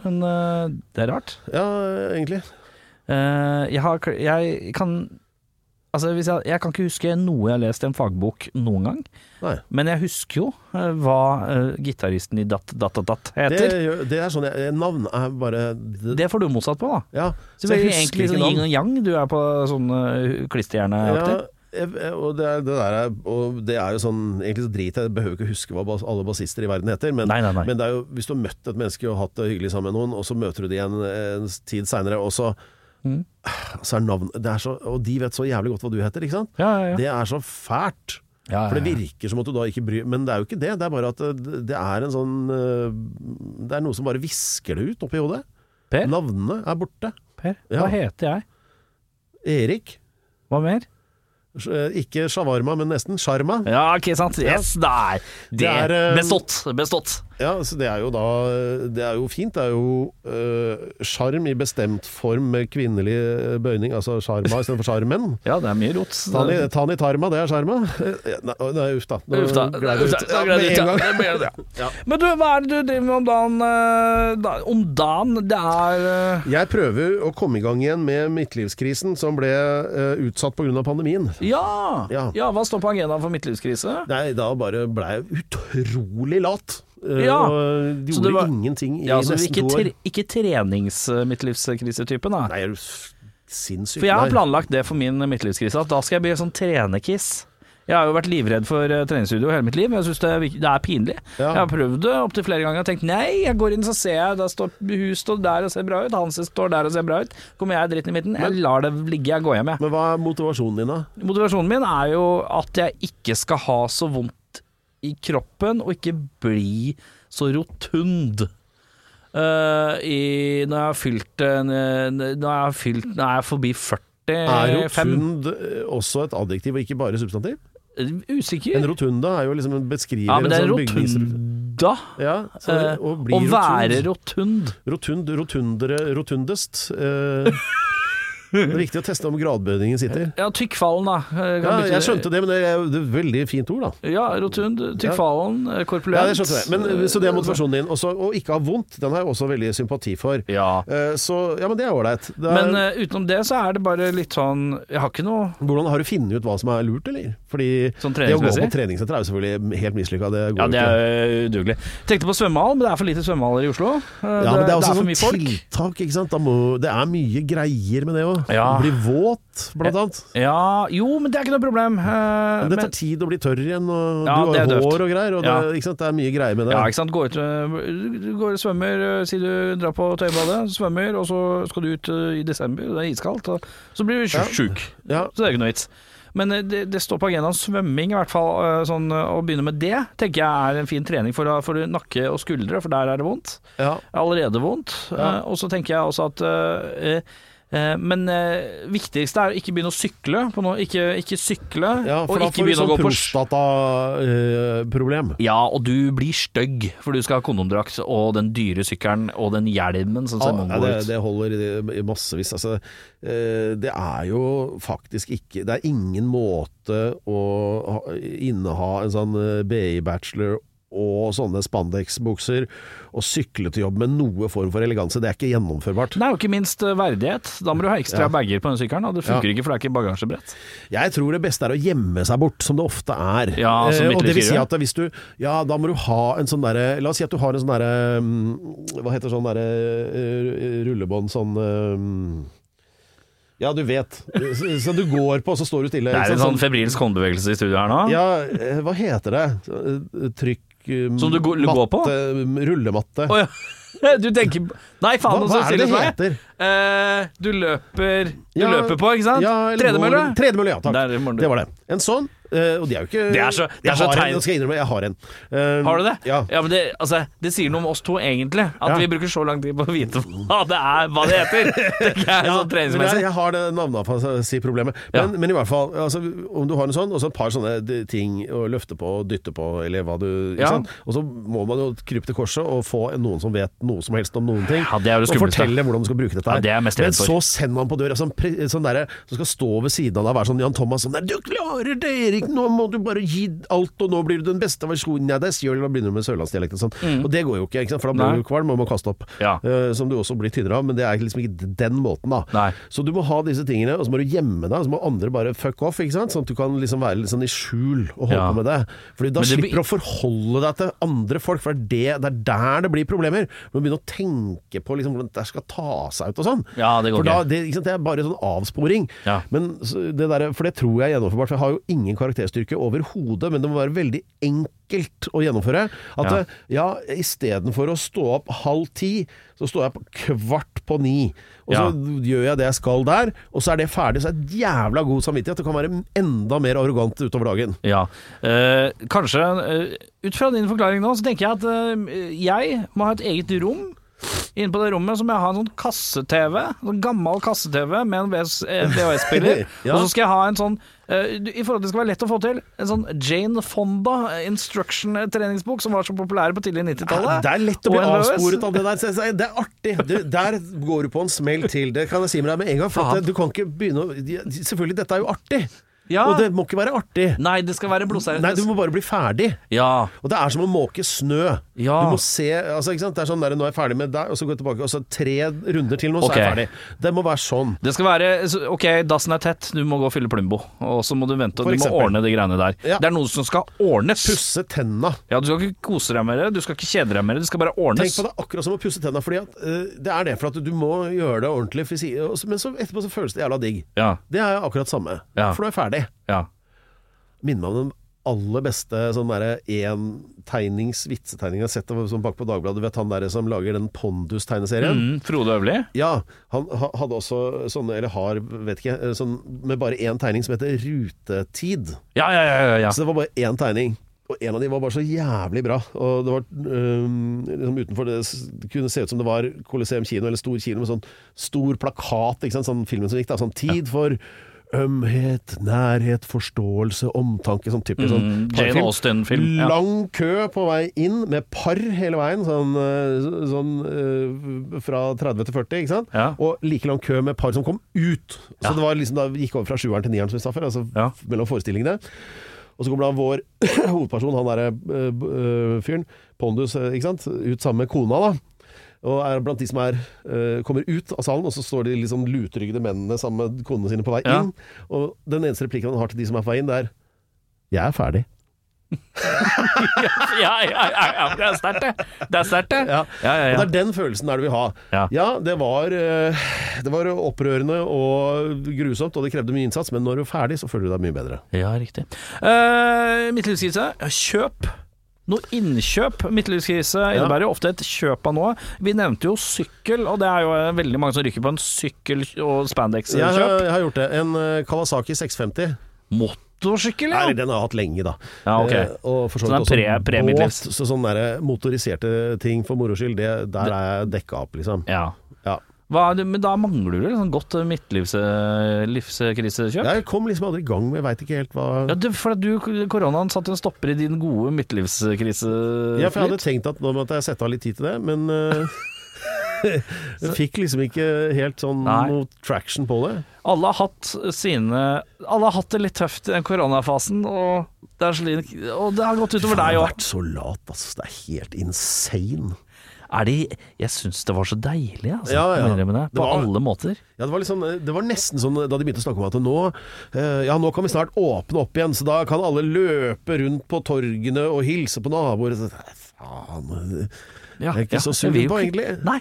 S1: Men eh, det er rart.
S2: Ja, egentlig.
S1: Eh, jeg har kl- Jeg kan Altså, hvis jeg, jeg kan ikke huske noe jeg har lest i en fagbok noen gang,
S2: Nei.
S1: men jeg husker jo eh, hva eh, gitaristen i Datt Datt Datt Datt
S2: Det,
S1: heter.
S2: gjør- det er sånn jeg Navn er bare
S1: Det, får du motsatt på, da.
S2: Ja.
S1: Så, det blir
S2: jeg husker
S1: egentlig
S2: ikke
S1: sånn
S2: navn.
S1: yin og yang du er på sånn eh, klisterhjerneaktig.
S2: Ja, jeg- jeg- og det, er, det der er, og det er jo sånn Egentlig så driter jeg jeg behøver ikke huske hva bas, alle bassister i verden heter, men,
S1: Nei, nei, nei.
S2: men det er jo, hvis du har møtt et menneske og hatt det hyggelig sammen med noen, og så møter du de igjen en tid seinere, og så,
S1: Mm.
S2: så er navn det er så, Og de vet så jævlig godt hva du heter, ikke sant?
S1: Ja, ja, ja.
S2: Det er så fælt.
S1: Ja, ja,
S2: For det
S1: ja.
S2: virker som at du da ikke bryr Men det er jo ikke det. Det er bare at det det er en sånn øh, Det er noe som bare visker det ut oppi hodet.
S1: Per?
S2: Navnene er borte.
S1: per,
S2: Ja.
S1: hva heter jeg?
S2: Erik.
S1: Hva mer?
S2: Eh, Ikke shawarma, men nesten. Sharma.
S1: Ja, ok, sant. Yes, der. Det,
S2: Det er, eh,
S1: bestått. Bestått.
S2: Ja, så det er jo da Det er jo fint. Det er jo eh, sjarm i bestemt form med kvinnelig eh, bøyning, altså sjarma istedenfor
S1: (laughs)
S2: sjarmen.
S1: Ja, det er mye rot.
S2: Tani, tani tarma, det er sjarma. Eh, Nei, nei, uff da. Nå
S1: Uff da.
S2: gled det ut.
S1: Uff da,
S2: Ja,
S1: gled det
S2: med
S1: ut, ja.
S2: en gang.
S1: Det ble det, ja. Men du, hva er det du driver med om dagen? eh, da- Om dagen, det er eh,
S2: Jeg prøver å komme i gang igjen med midtlivskrisen som ble eh, utsatt pga. pandemien.
S1: ja. ja!
S2: Ja.
S1: Hva står på agendaen for midtlivskrise?
S2: Nei, da bare blei jeg utrolig lat. Eh,
S1: Ja.
S2: Og
S1: Så det
S2: gjorde
S1: var-
S2: ingenting i
S1: Ja, altså,
S2: nesten
S1: ikke,
S2: to år.
S1: tre, ikke trenings-midtlivskrisetypen, da.
S2: Nei, er du s- sinnssyk?
S1: For jeg har
S2: Nei.
S1: planlagt det for min midtlivskrise, at da skal jeg bli sånn trenekiss. Jeg har jo vært livredd for eh, treningsstudio hele mitt liv, jeg syns det, er vik- det er pinlig.
S2: Ja.
S1: Jeg har prøvd det opptil flere ganger og tenkt nei, jeg går inn så ser jeg, der står, hun står der og ser bra ut, han står der og ser bra ut, kommer jeg dritten i midten, jeg lar det ligge, jeg går hjem, jeg.
S2: Men hva er motivasjonen din, da?
S1: Motivasjonen min er jo at jeg ikke skal ha så vondt i kroppen, og ikke bli så rotund. Eh, i, når jeg har fylt eh, Når jeg har fylt Når jeg er forbi 40
S2: Er
S1: fem-
S2: rotund eh, også et adjektiv, og ikke bare substantiv? En
S1: Usikker.
S2: rotunda er jo liksom en beskriver
S1: Eh. Ja, men det er
S2: en bygningsru-
S1: rotunda.
S2: Ja, så,
S1: Eh,
S2: å bli
S1: Å være
S2: rotund.
S1: rotund.
S2: Rotund, rotundere, rotundest. eh, det er viktig å teste om gradbøyningen
S1: (laughs)
S2: sitter.
S1: Ja, tykkfallen, da. Eh, kan
S2: Ja,
S1: betyde-
S2: jeg skjønte det, men det er jo et veldig fint ord, da.
S1: Ja, rotund, tykkfallen, eh, korpulent.
S2: Ja, jeg skjønte det. Men, eh, så det
S1: eh,
S2: er motivasjonen din. Også, og ikke ha vondt, den har jeg også veldig sympati for.
S1: Ja.
S2: Eh, Så ja, men det er ålreit. Det er-
S1: Men eh, utenom det så er det bare litt sånn Jeg har ikke noe
S2: Hvordan har du funnet ut hva som er lurt, eller? Fordi
S1: Sånn
S2: det å gå
S1: treningsmessig?
S2: på treningssenter er jo selvfølgelig helt mislykka. Det går
S1: Ja,
S2: jo
S1: det
S2: ikke.
S1: er udugelig. Tenkte på svømmehall, men det er for lite svømmehaller i Oslo. Eh,
S2: Ja, men det er også
S1: for
S2: sånn
S1: mye folk.
S2: tiltak, ikke sant. Da må, det er mye greier med det òg.
S1: Ja.
S2: Bli våt, blant annet.
S1: Ja, jo, men det er ikke noe problem. Eh,
S2: Men det
S1: men-
S2: tar tid å bli tørr igjen, og
S1: Ja,
S2: du
S1: det er
S2: har
S1: døvt.
S2: hår og greier. Og det,
S1: Ja.
S2: ikke sant? det er mye greier med det.
S1: Ja, ikke sant. Gå ut, øh, du går og svømmer, øh, si du drar på tøybadet, svømmer, og så skal du ut øh, i desember, det er iskaldt, og så blir du sj- sjuk.
S2: Ja.
S1: Så det er ikke noe vits. Men øh, det, det står på agendaen svømming, i hvert fall. øh, Sånn, øh, å begynne med det tenker jeg er en fin trening for, å- for nakke og skuldre, for der er det vondt.
S2: Ja.
S1: Allerede vondt. Eh, Og så tenker jeg også at øh, eh, eh, men eh, viktigste er å ikke begynne å sykle. På noe. Ikke, ikke sykle,
S2: Ja, for
S1: og
S2: da
S1: ikke
S2: får du
S1: begynne
S2: sånn eh,
S1: å gå på
S2: prostataproblem.
S1: ja, og du blir stygg, for du skal ha kondomdrakt og den dyre sykkelen og den hjelmen som ser mongo
S2: ja, det,
S1: ut.
S2: det holder i- i massevis. Altså, eh, det er jo faktisk ikke Det er ingen måte å ha- inneha en sånn eh, BI-bachelor og sånne spandex-bukser og sykle til jobb med noe form for eleganse. Det er ikke gjennomførbart.
S1: Nei, og ikke minst eh, verdighet. Da må du ha ekstra bager på den sykkelen, og det funker ikke, for det er ikke bagasjebrett.
S2: Jeg tror det beste er å gjemme seg bort, som det ofte er.
S1: Ja, som
S2: Eh, og det vil si
S1: midlertidig.
S2: at hvis du Ja, da må du ha en sånn derre La oss si at du har en sånn derre mm, Hva heter sånn derre eh, rullebånd sånn eh, Ja, du vet. Så så du går på, og så står du stille.
S1: Det er
S2: ikke
S1: en
S2: sant?
S1: sånn febrilsk håndbevegelse i studio her nå.
S2: Ja, eh, hva heter det? Eh, Trykk eh,
S1: Som du går- du går på?
S2: matte, mm,
S1: (laughs)
S2: Rullematte.
S1: Å, ja. Du tenker Nei,
S2: Hva,
S1: faen, nå
S2: hva
S1: så
S2: er
S1: stille
S2: det
S1: som
S2: det
S1: jeg er.
S2: heter?
S1: Eh, du løper Du
S2: Ja,
S1: løper på, ikke sant?
S2: Ja, eller
S1: Tredemølle?
S2: går- Tredemølle, ja. Takk.
S1: Der må du-
S2: Det var det. En sånn. eh, og de er jo ikke
S1: Det er så- det er
S2: jeg
S1: så
S2: har en,
S1: tegn-
S2: nå skal jeg innrømme, jeg har en. Eh,
S1: Har du det?
S2: Ja.
S1: men det, altså, det sier noe om oss to, egentlig. At
S2: Ja.
S1: vi bruker så lang tid på å vite hva det er, hva det
S2: (laughs)
S1: heter. Tenker jeg,
S2: Ja,
S1: sånn
S2: men jeg,
S1: treningsmessig.
S2: jeg har det navneafasi-problemet. Men,
S1: Ja.
S2: men i hvert fall, altså, om du har en sånn, og så et par sånne d- ting å løfte på, dytte på, eller hva du ikke
S1: Ja.
S2: sant? Og så må man jo krype til korset og få noen som vet noe som helst om noen ting.
S1: Ja, det er jo det
S2: og
S1: skumleste.
S2: fortelle hvordan du skal bruke dette. her.
S1: Ja, det er jeg mest redd
S2: men
S1: for.
S2: så sender man på døra sånn, pre- sånn derre som skal stå ved siden av deg og være sånn Jan Thomas sånn der, 'Du klarer det, Erik! Nå må du bare gi alt, og nå blir du den beste versjonen av deg sjøl!' Og begynner med sørlandsdialekt og sånn. Og det går jo ikke, ikke sant? for da
S1: Mm. Nei.
S2: blir du kvalm og må kaste opp.
S1: Ja.
S2: Eh, som du også blir tynnere av, men det er liksom ikke den måten, da.
S1: Nei.
S2: Så du må ha disse tingene, og så må du gjemme deg, og så må andre bare fuck off, ikke sant? Sånn at du kan liksom være litt sånn i skjul og holde
S1: Ja.
S2: på med det. Fordi da
S1: Men det
S2: slipper du
S1: blir-
S2: å forholde deg til andre folk, for det er, det, det er der det blir problemer. Du må begynne å tenke på liksom hvordan det skal ta seg ut og sånn.
S1: Ja, det går
S2: for da,
S1: ikke.
S2: det, ikke sant? det er bare sånn avsporing.
S1: Ja.
S2: Men så det der, for det tror jeg er gjennomførbart. For jeg har jo ingen karakterstyrke overhodet, men det må være veldig enkelt å gjennomføre. At
S1: Ja.
S2: eh, ja, istedenfor å stå opp halv ti, så står jeg på kvart på ni. Og så
S1: Ja.
S2: gjør jeg det jeg skal der, og så er det ferdig. Så er det jævla god samvittighet. Det kan være enda mer arrogant utover dagen.
S1: Ja. Eh, kanskje eh, Ut fra din forklaring nå, så tenker jeg at eh, jeg må ha et eget rom Inne på det rommet så må jeg ha en sånn kasse-TV, sånn gammel kasse-TV med en VS eh, VHS-spiller.
S2: (laughs) Ja.
S1: Og så skal jeg ha en sånn, eh, du- i forhold til det skal være lett å få til, en sånn Jane Fonda eh, instruction-treningsbok som var så populær på tidlig 90-tallet.
S2: Det er lett å bli
S1: Og en VHS.
S2: avsporet av det der. så- så- Det er artig. Du, der går du på en smell til. Det kan jeg si med deg med en gang. For at
S1: Faen.
S2: du kan ikke begynne å Selvfølgelig, dette er jo artig.
S1: Ja.
S2: Og det må ikke være artig.
S1: Nei, det skal være blodseriøst.
S2: Nei, du må bare bli ferdig.
S1: Ja.
S2: Og det er som å måke snø.
S1: Ja.
S2: Du må se altså, ikke sant? Det er sånn der, Nå er jeg ferdig med deg, og så går jeg tilbake, og så tre runder til nå, så er jeg
S1: Ok.
S2: ferdig. Det må være sånn.
S1: Det skal være så- Ok, dassen er tett, du må gå og fylle Plumbo. Og så må du vente,
S2: For
S1: og du må
S2: eksempel.
S1: ordne de greiene der.
S2: Ja.
S1: Det er noe som skal ordnes.
S2: Pusse tenna.
S1: Ja, du skal ikke kose deg med det, du skal ikke kjede deg med det, det skal bare ordnes.
S2: Tenk på det akkurat som å pusse tenna, fordi at eh, det er det. For at du må gjøre det ordentlig, for si- og så- men så etterpå så føles det jævla digg.
S1: Ja,
S2: Det er akkurat samme.
S1: Ja.
S2: For nå er jeg ferdig.
S1: ja.
S2: Minner meg om den aller beste sånn derre entegnings vitsetegning jeg har sett av- sånn bak på Dagbladet. Du vet han derre som lager den Pondus-tegneserien?
S1: Mm, Frode Øvli?
S2: Ja, han ha- hadde også sånne, eller har, vet ikke, sånn, med bare én tegning som heter Rutetid.
S1: Ja, ja, ja. ja, ja.
S2: Så det var bare én tegning. Og en av de var bare så jævlig bra. Og det var øhm, liksom utenfor det, s- det kunne se ut som det var Colosseum kino, eller stor kino, med sånn stor plakat, ikke sant, sånn filmen som gikk, da. Sånn tid for Ømhet, nærhet, forståelse, omtanke. Sånn typisk sånn
S1: Mm, Jane
S2: parfilm.
S1: Austen-film, ja.
S2: Lang kø på vei inn, med par hele veien. Sånn, øh, sånn øh, fra 30 til 40, ikke sant.
S1: Ja.
S2: Og like lang kø med par som kom ut. Så
S1: Ja.
S2: det var liksom da vi gikk over fra sjueren til nieren, som vi sa før. Altså
S1: Ja.
S2: mellom forestillingene. Og så kommer da vår (clears throat) hovedperson, han derre eh, b- eh, fyren, Pondus, eh, ikke sant, ut sammen med kona, da. Og er blant de som er, eh, kommer ut av salen, og så står de liksom lutryggede mennene sammen med konene sine på vei
S1: Ja.
S2: inn. Og den eneste replikken han har til de som er på vei inn, det er 'Jeg er ferdig'.
S1: (laughs) Ja, ja, ja, ja. Det er sterkt, det. Det er sterkt, det. Ja, ja, ja.
S2: Og det er den følelsen der du vil ha.
S1: Ja.
S2: det, var, eh, det var opprørende og grusomt, og det krevde mye innsats, men når du er ferdig, så føler du deg mye bedre.
S1: Ja, riktig. Uh, Midtlivskrise. Kjøp. Noe innkjøp. Midtlivskrise innebærer jo ofte et kjøp av noe. Vi nevnte jo sykkel, og det er jo eh, veldig mange som rykker på en sykkel- og
S2: Jeg, har-
S1: spandex-kjøp.
S2: jeg har gjort det. En eh, Kawasaki 650.
S1: Motorsykkel,
S2: Nei,
S1: ja!
S2: den har jeg hatt lenge, da.
S1: Ja, ok.
S2: Eh, og for
S1: Så
S2: så vidt
S1: den er
S2: også
S1: pre- premiddels.
S2: båt, Så sånne der eh, motoriserte ting for moro skyld, det, der er jeg dekka opp, liksom.
S1: ja.
S2: Ja.
S1: Hva, er det- men da mangler du liksom godt eh, midtlivs- eh, livskrisekjøp?
S2: Jeg kom liksom aldri i gang, men jeg veit ikke helt hva
S1: Ja, du, for at du, koronaen satte en stopper i din gode midtlivskrise.
S2: Ja, for jeg hadde tenkt at nå måtte jeg sette av litt tid til det, men (laughs) eh, jeg fikk liksom ikke helt sånn
S1: Nei.
S2: noe traction på det.
S1: Alle har hatt sine Alle har hatt det litt tøft i den koronafasen, og det, er slik, og det har gått utover
S2: Faen,
S1: deg
S2: jeg har
S1: òg.
S2: vært så lat, altså. Det er helt insane.
S1: Er de Jeg syns det var så deilig, altså.
S2: Ja, ja.
S1: jeg må innrømme det,
S2: Det
S1: på
S2: var-
S1: alle måter.
S2: Ja, det, var litt sånn, det var nesten sånn da de begynte å snakke om at nå, eh, ja, nå kan vi snart åpne opp igjen, så da kan alle løpe rundt på torgene og hilse på naboer. Så, nei, Faen. eh,
S1: Ja,
S2: Jeg er ikke så sur
S1: jeg vil jo
S2: på,
S1: ikke-
S2: egentlig.
S1: Nei.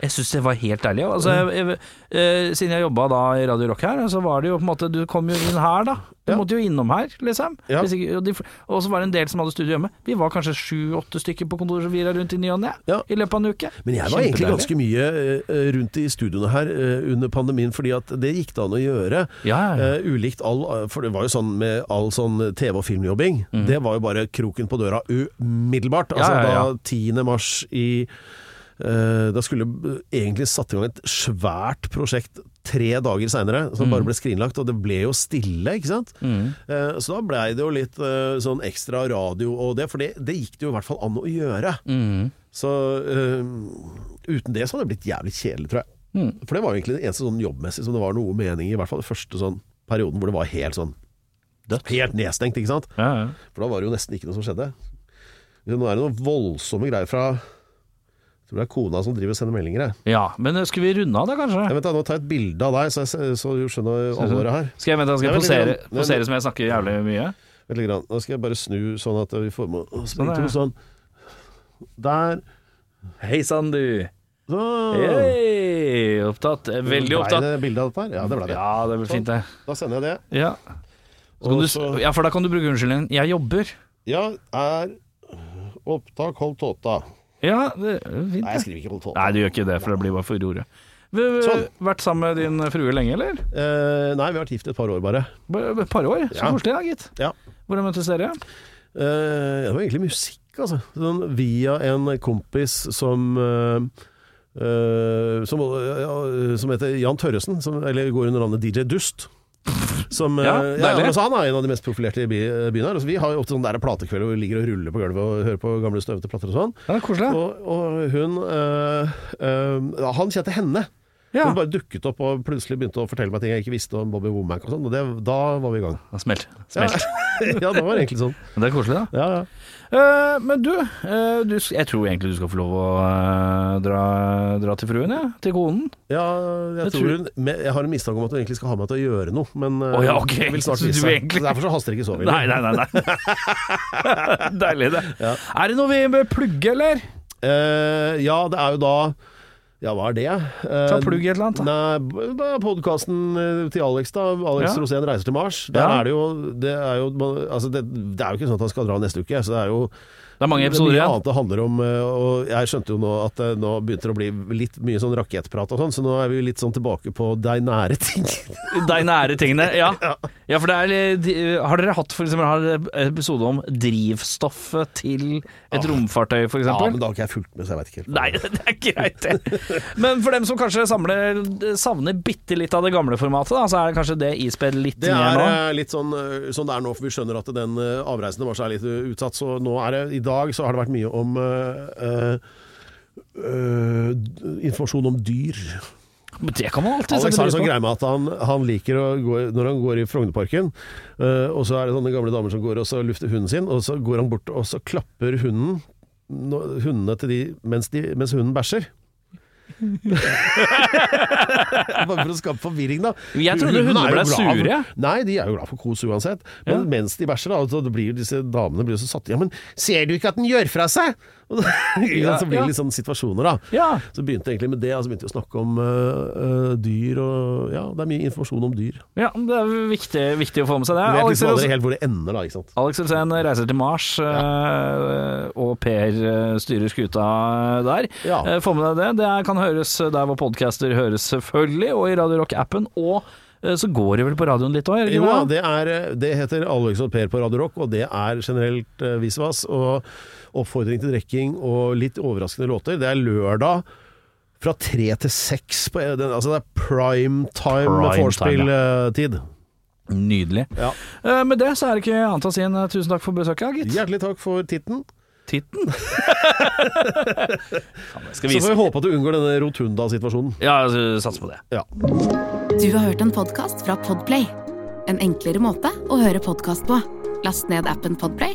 S1: Jeg syns det var helt deilig. Altså, jeg, jeg, eh, siden jeg jobba da i Radio Rock her, så var det jo på en måte Du kom jo inn her, da. Du
S2: Ja.
S1: måtte jo innom her, liksom.
S2: Ja.
S1: Hvis ikke, og, de, og så var det en del som hadde studio hjemme. Vi var kanskje sju-åtte stykker på kontoret som virra rundt i ny og ne
S2: Ja.
S1: i løpet av en uke.
S2: Men jeg var egentlig
S1: Kjempedeilig.
S2: ganske mye eh, rundt i studioene her eh, under pandemien, fordi at det gikk det an å gjøre.
S1: Ja, ja, ja.
S2: Eh, ulikt all For det var jo sånn med all sånn TV- og filmjobbing, det var jo bare kroken på døra umiddelbart. Altså
S1: Mhm. Ja, ja, ja.
S2: da 10. mars i eh, Da skulle eh, egentlig satt i gang et svært prosjekt tre dager seinere, som
S1: Mhm.
S2: bare ble skrinlagt, og det ble jo stille, ikke sant. Eh, så da blei det jo litt eh, sånn ekstra radio og det, for det, det gikk det jo i hvert fall an å gjøre. Så eh, uten det så hadde det blitt jævlig kjedelig, tror jeg.
S1: Mm.
S2: For det var jo egentlig det eneste sånn jobbmessig som det var noe mening i, i hvert fall den første sånn perioden hvor det var helt sånn
S1: Dødt.
S2: Helt nedstengt, ikke sant?
S1: Ja, ja.
S2: For da var det jo nesten ikke noe som skjedde. Men Nå er det noen voldsomme greier fra Jeg tror det er kona som driver og sender meldinger, jeg.
S1: Ja, men eh, skal vi runde av da,
S2: jeg
S1: kanskje?
S2: vet da, nå tar jeg et bilde av deg, så, jeg, så du skjønner alvoret her.
S1: Skal jeg, vent, da, skal jeg
S2: Nei, vent
S1: posere,
S2: litt grann.
S1: posere som jeg snakker jævlig mye?
S2: Vent litt grann. Nå skal jeg bare snu sånn at vi får med oss
S1: Sånn, ja.
S2: sånn. Der.
S1: Hei sann, du.
S2: Sånn.
S1: Hei, opptatt. Eh, Veldig
S2: Ble
S1: opptatt.
S2: Mm, det bilde av dette her? Ja, det ble det.
S1: Ja, det blir fint, det.
S2: Da sender jeg det.
S1: Ja. Så kan
S2: Og
S1: du,
S2: så-
S1: s- ja, for da kan du bruke unnskyldningen 'jeg jobber'.
S2: Ja, er opptak holdt tåta.
S1: Ja, det er fint.
S2: Nei, jeg
S1: Det.
S2: skriver ikke holdt tåta.
S1: Nei, du gjør ikke det, for det blir bare for ordet. Vi har
S2: Sånn.
S1: vært sammen med din frue lenge, eller?
S2: Eh, nei, vi har vært gift et par år bare.
S1: Bare Et par år. Så
S2: Ja.
S1: koselig, da, gitt.
S2: Ja.
S1: Hvordan møttes dere?
S2: Eh, det var egentlig musikk, altså. Sånn, via en kompis som eh, eh, som, ja, eh, som heter Jan Tørresen, som, eller går under navnet DJ Dust. Som, eh,
S1: Ja,
S2: ja, ja,
S1: deilig.
S2: men altså han er en av de mest profilerte i by- byen her. Altså, vi har jo ofte sånn der platekveld hvor vi ligger og ruller på gulvet og hører på gamle støvete plater og sånn.
S1: Ja, det er koselig.
S2: Og, og hun eh, eh, ja, Han kjente henne.
S1: Ja.
S2: Hun bare dukket opp og plutselig begynte å fortelle meg ting jeg ikke visste om Bobby Womack og sånn. Og det, da var vi i gang.
S1: Smelt.
S2: Ja,
S1: Smelt.
S2: (laughs) ja det var egentlig sånn.
S1: Men Det er koselig, da.
S2: Ja, ja.
S1: Eh, men du, eh, du, jeg tror egentlig du skal få lov å eh, dra, dra til fruen, ja. Til konen.
S2: Ja, jeg,
S1: Jeg
S2: tror
S1: tror-
S2: hun, men jeg har en mistanke om at hun egentlig skal ha meg til å gjøre noe, men eh,
S1: Å ja, ok.
S2: det vil snart
S1: Så
S2: vise
S1: du
S2: seg.
S1: egentlig-
S2: Så Derfor så haster det ikke så veldig.
S1: Nei, nei, nei. nei. (laughs) Deilig, det. Er det noe vi bør plugge, eller?
S2: Eh, ja, det er jo da Ja, hva er det? Eh,
S1: Ta plugg i et eller annet, da.
S2: Nei, podkasten eh, til Alex, da. Alex
S1: Ja.
S2: Rosén reiser til Mars. Der
S1: Ja.
S2: er det jo Det er jo, altså det, det er jo ikke sånn at han skal dra neste uke, så det er jo
S1: Det er mange episoder
S2: det er mye
S1: igjen.
S2: annet det handler om, eh, og jeg skjønte jo nå at eh, nå begynte det å bli litt mye sånn rakettprat og sånn, så nå er vi litt sånn tilbake på deg nære ting.
S1: De nære tingene.
S2: (laughs)
S1: Ja. ja, for det er litt- de- Har dere hatt for eksempel, har dere en episode om drivstoffet til et romfartøy, for
S2: Ah. Ja,
S1: eksempel?
S2: men da har ikke jeg fulgt med, så jeg veit ikke helt.
S1: Nei, (laughs) det er greit, det. Men for dem som kanskje samler, savner bitte litt av det gamle formatet, da, så er det kanskje det ispedd litt
S2: Det
S1: mer
S2: er
S1: nå?
S2: eh, litt sånn, eh, sånn det er nå, for vi skjønner at den eh, avreisende Mars er litt eh, utsatt. Så nå er det, i dag så har det vært mye om eh, eh, eh, d- informasjon om dyr.
S1: Men det kan man alltid
S2: Alex
S1: sette
S2: har en
S1: pris
S2: sånn
S1: på.
S2: greie med at han, han liker å gå når han går i Frognerparken, eh, og så er det sånne gamle damer som går og så lufter hunden sin, og så går han bort og så klapper hunden nå- hundene til de mens, de, mens hunden bæsjer. (laughs) Bare for å skape forvirring, da.
S1: Jeg trodde
S2: Hundene
S1: hunder
S2: er jo
S1: ble
S2: glad
S1: sure,
S2: for-
S1: jeg.
S2: Nei, de er jo glad for kos uansett. Men
S1: Ja.
S2: mens de bæsjer, da, så blir jo disse damene blir jo så satt i Ja, men ser du ikke at den gjør fra seg? (laughs) Og da,
S1: Ja,
S2: så blir
S1: ja.
S2: det litt sånne situasjoner, da.
S1: Ja.
S2: Så begynte jeg egentlig med det. Altså begynte jeg å snakke om øh, øh, dyr og Ja, det er mye informasjon om dyr.
S1: ja, det er viktig, viktig å få med seg det.
S2: Du vet
S1: Alex,
S2: liksom aldri
S1: Rose-
S2: helt hvor det ender, da. ikke sant?
S1: Alex Rosén reiser til Mars, eh, og Per eh, styrer skuta der.
S2: Ja.
S1: Eh, Få med deg det. Det er- kan høres der hvor podcaster høres, selvfølgelig, og i Radio Rock-appen. Og eh, så går det vel på radioen litt òg?
S2: Jo, ja, det, er, øh, det heter Alex og Per på Radio Rock, og det er generelt øh, visvas. Og oppfordring til drikking og litt overraskende låter. Det er lørdag fra tre til seks. På, den, altså det er prime time eh,
S1: Prime
S2: vorspiel-tid.
S1: Nydelig.
S2: Ja.
S1: Eh, Med det så er det ikke annet å si enn eh, tusen takk for besøket, gitt.
S2: Hjertelig takk for titten. (laughs)
S1: Titten. Skal
S2: Så får vi håpe at du unngår denne rotunda-situasjonen.
S1: Ja, satser på det.
S2: Ja.
S4: Du har hørt en podkast fra Podplay. En enklere måte å høre podkast på. Last ned appen Podplay,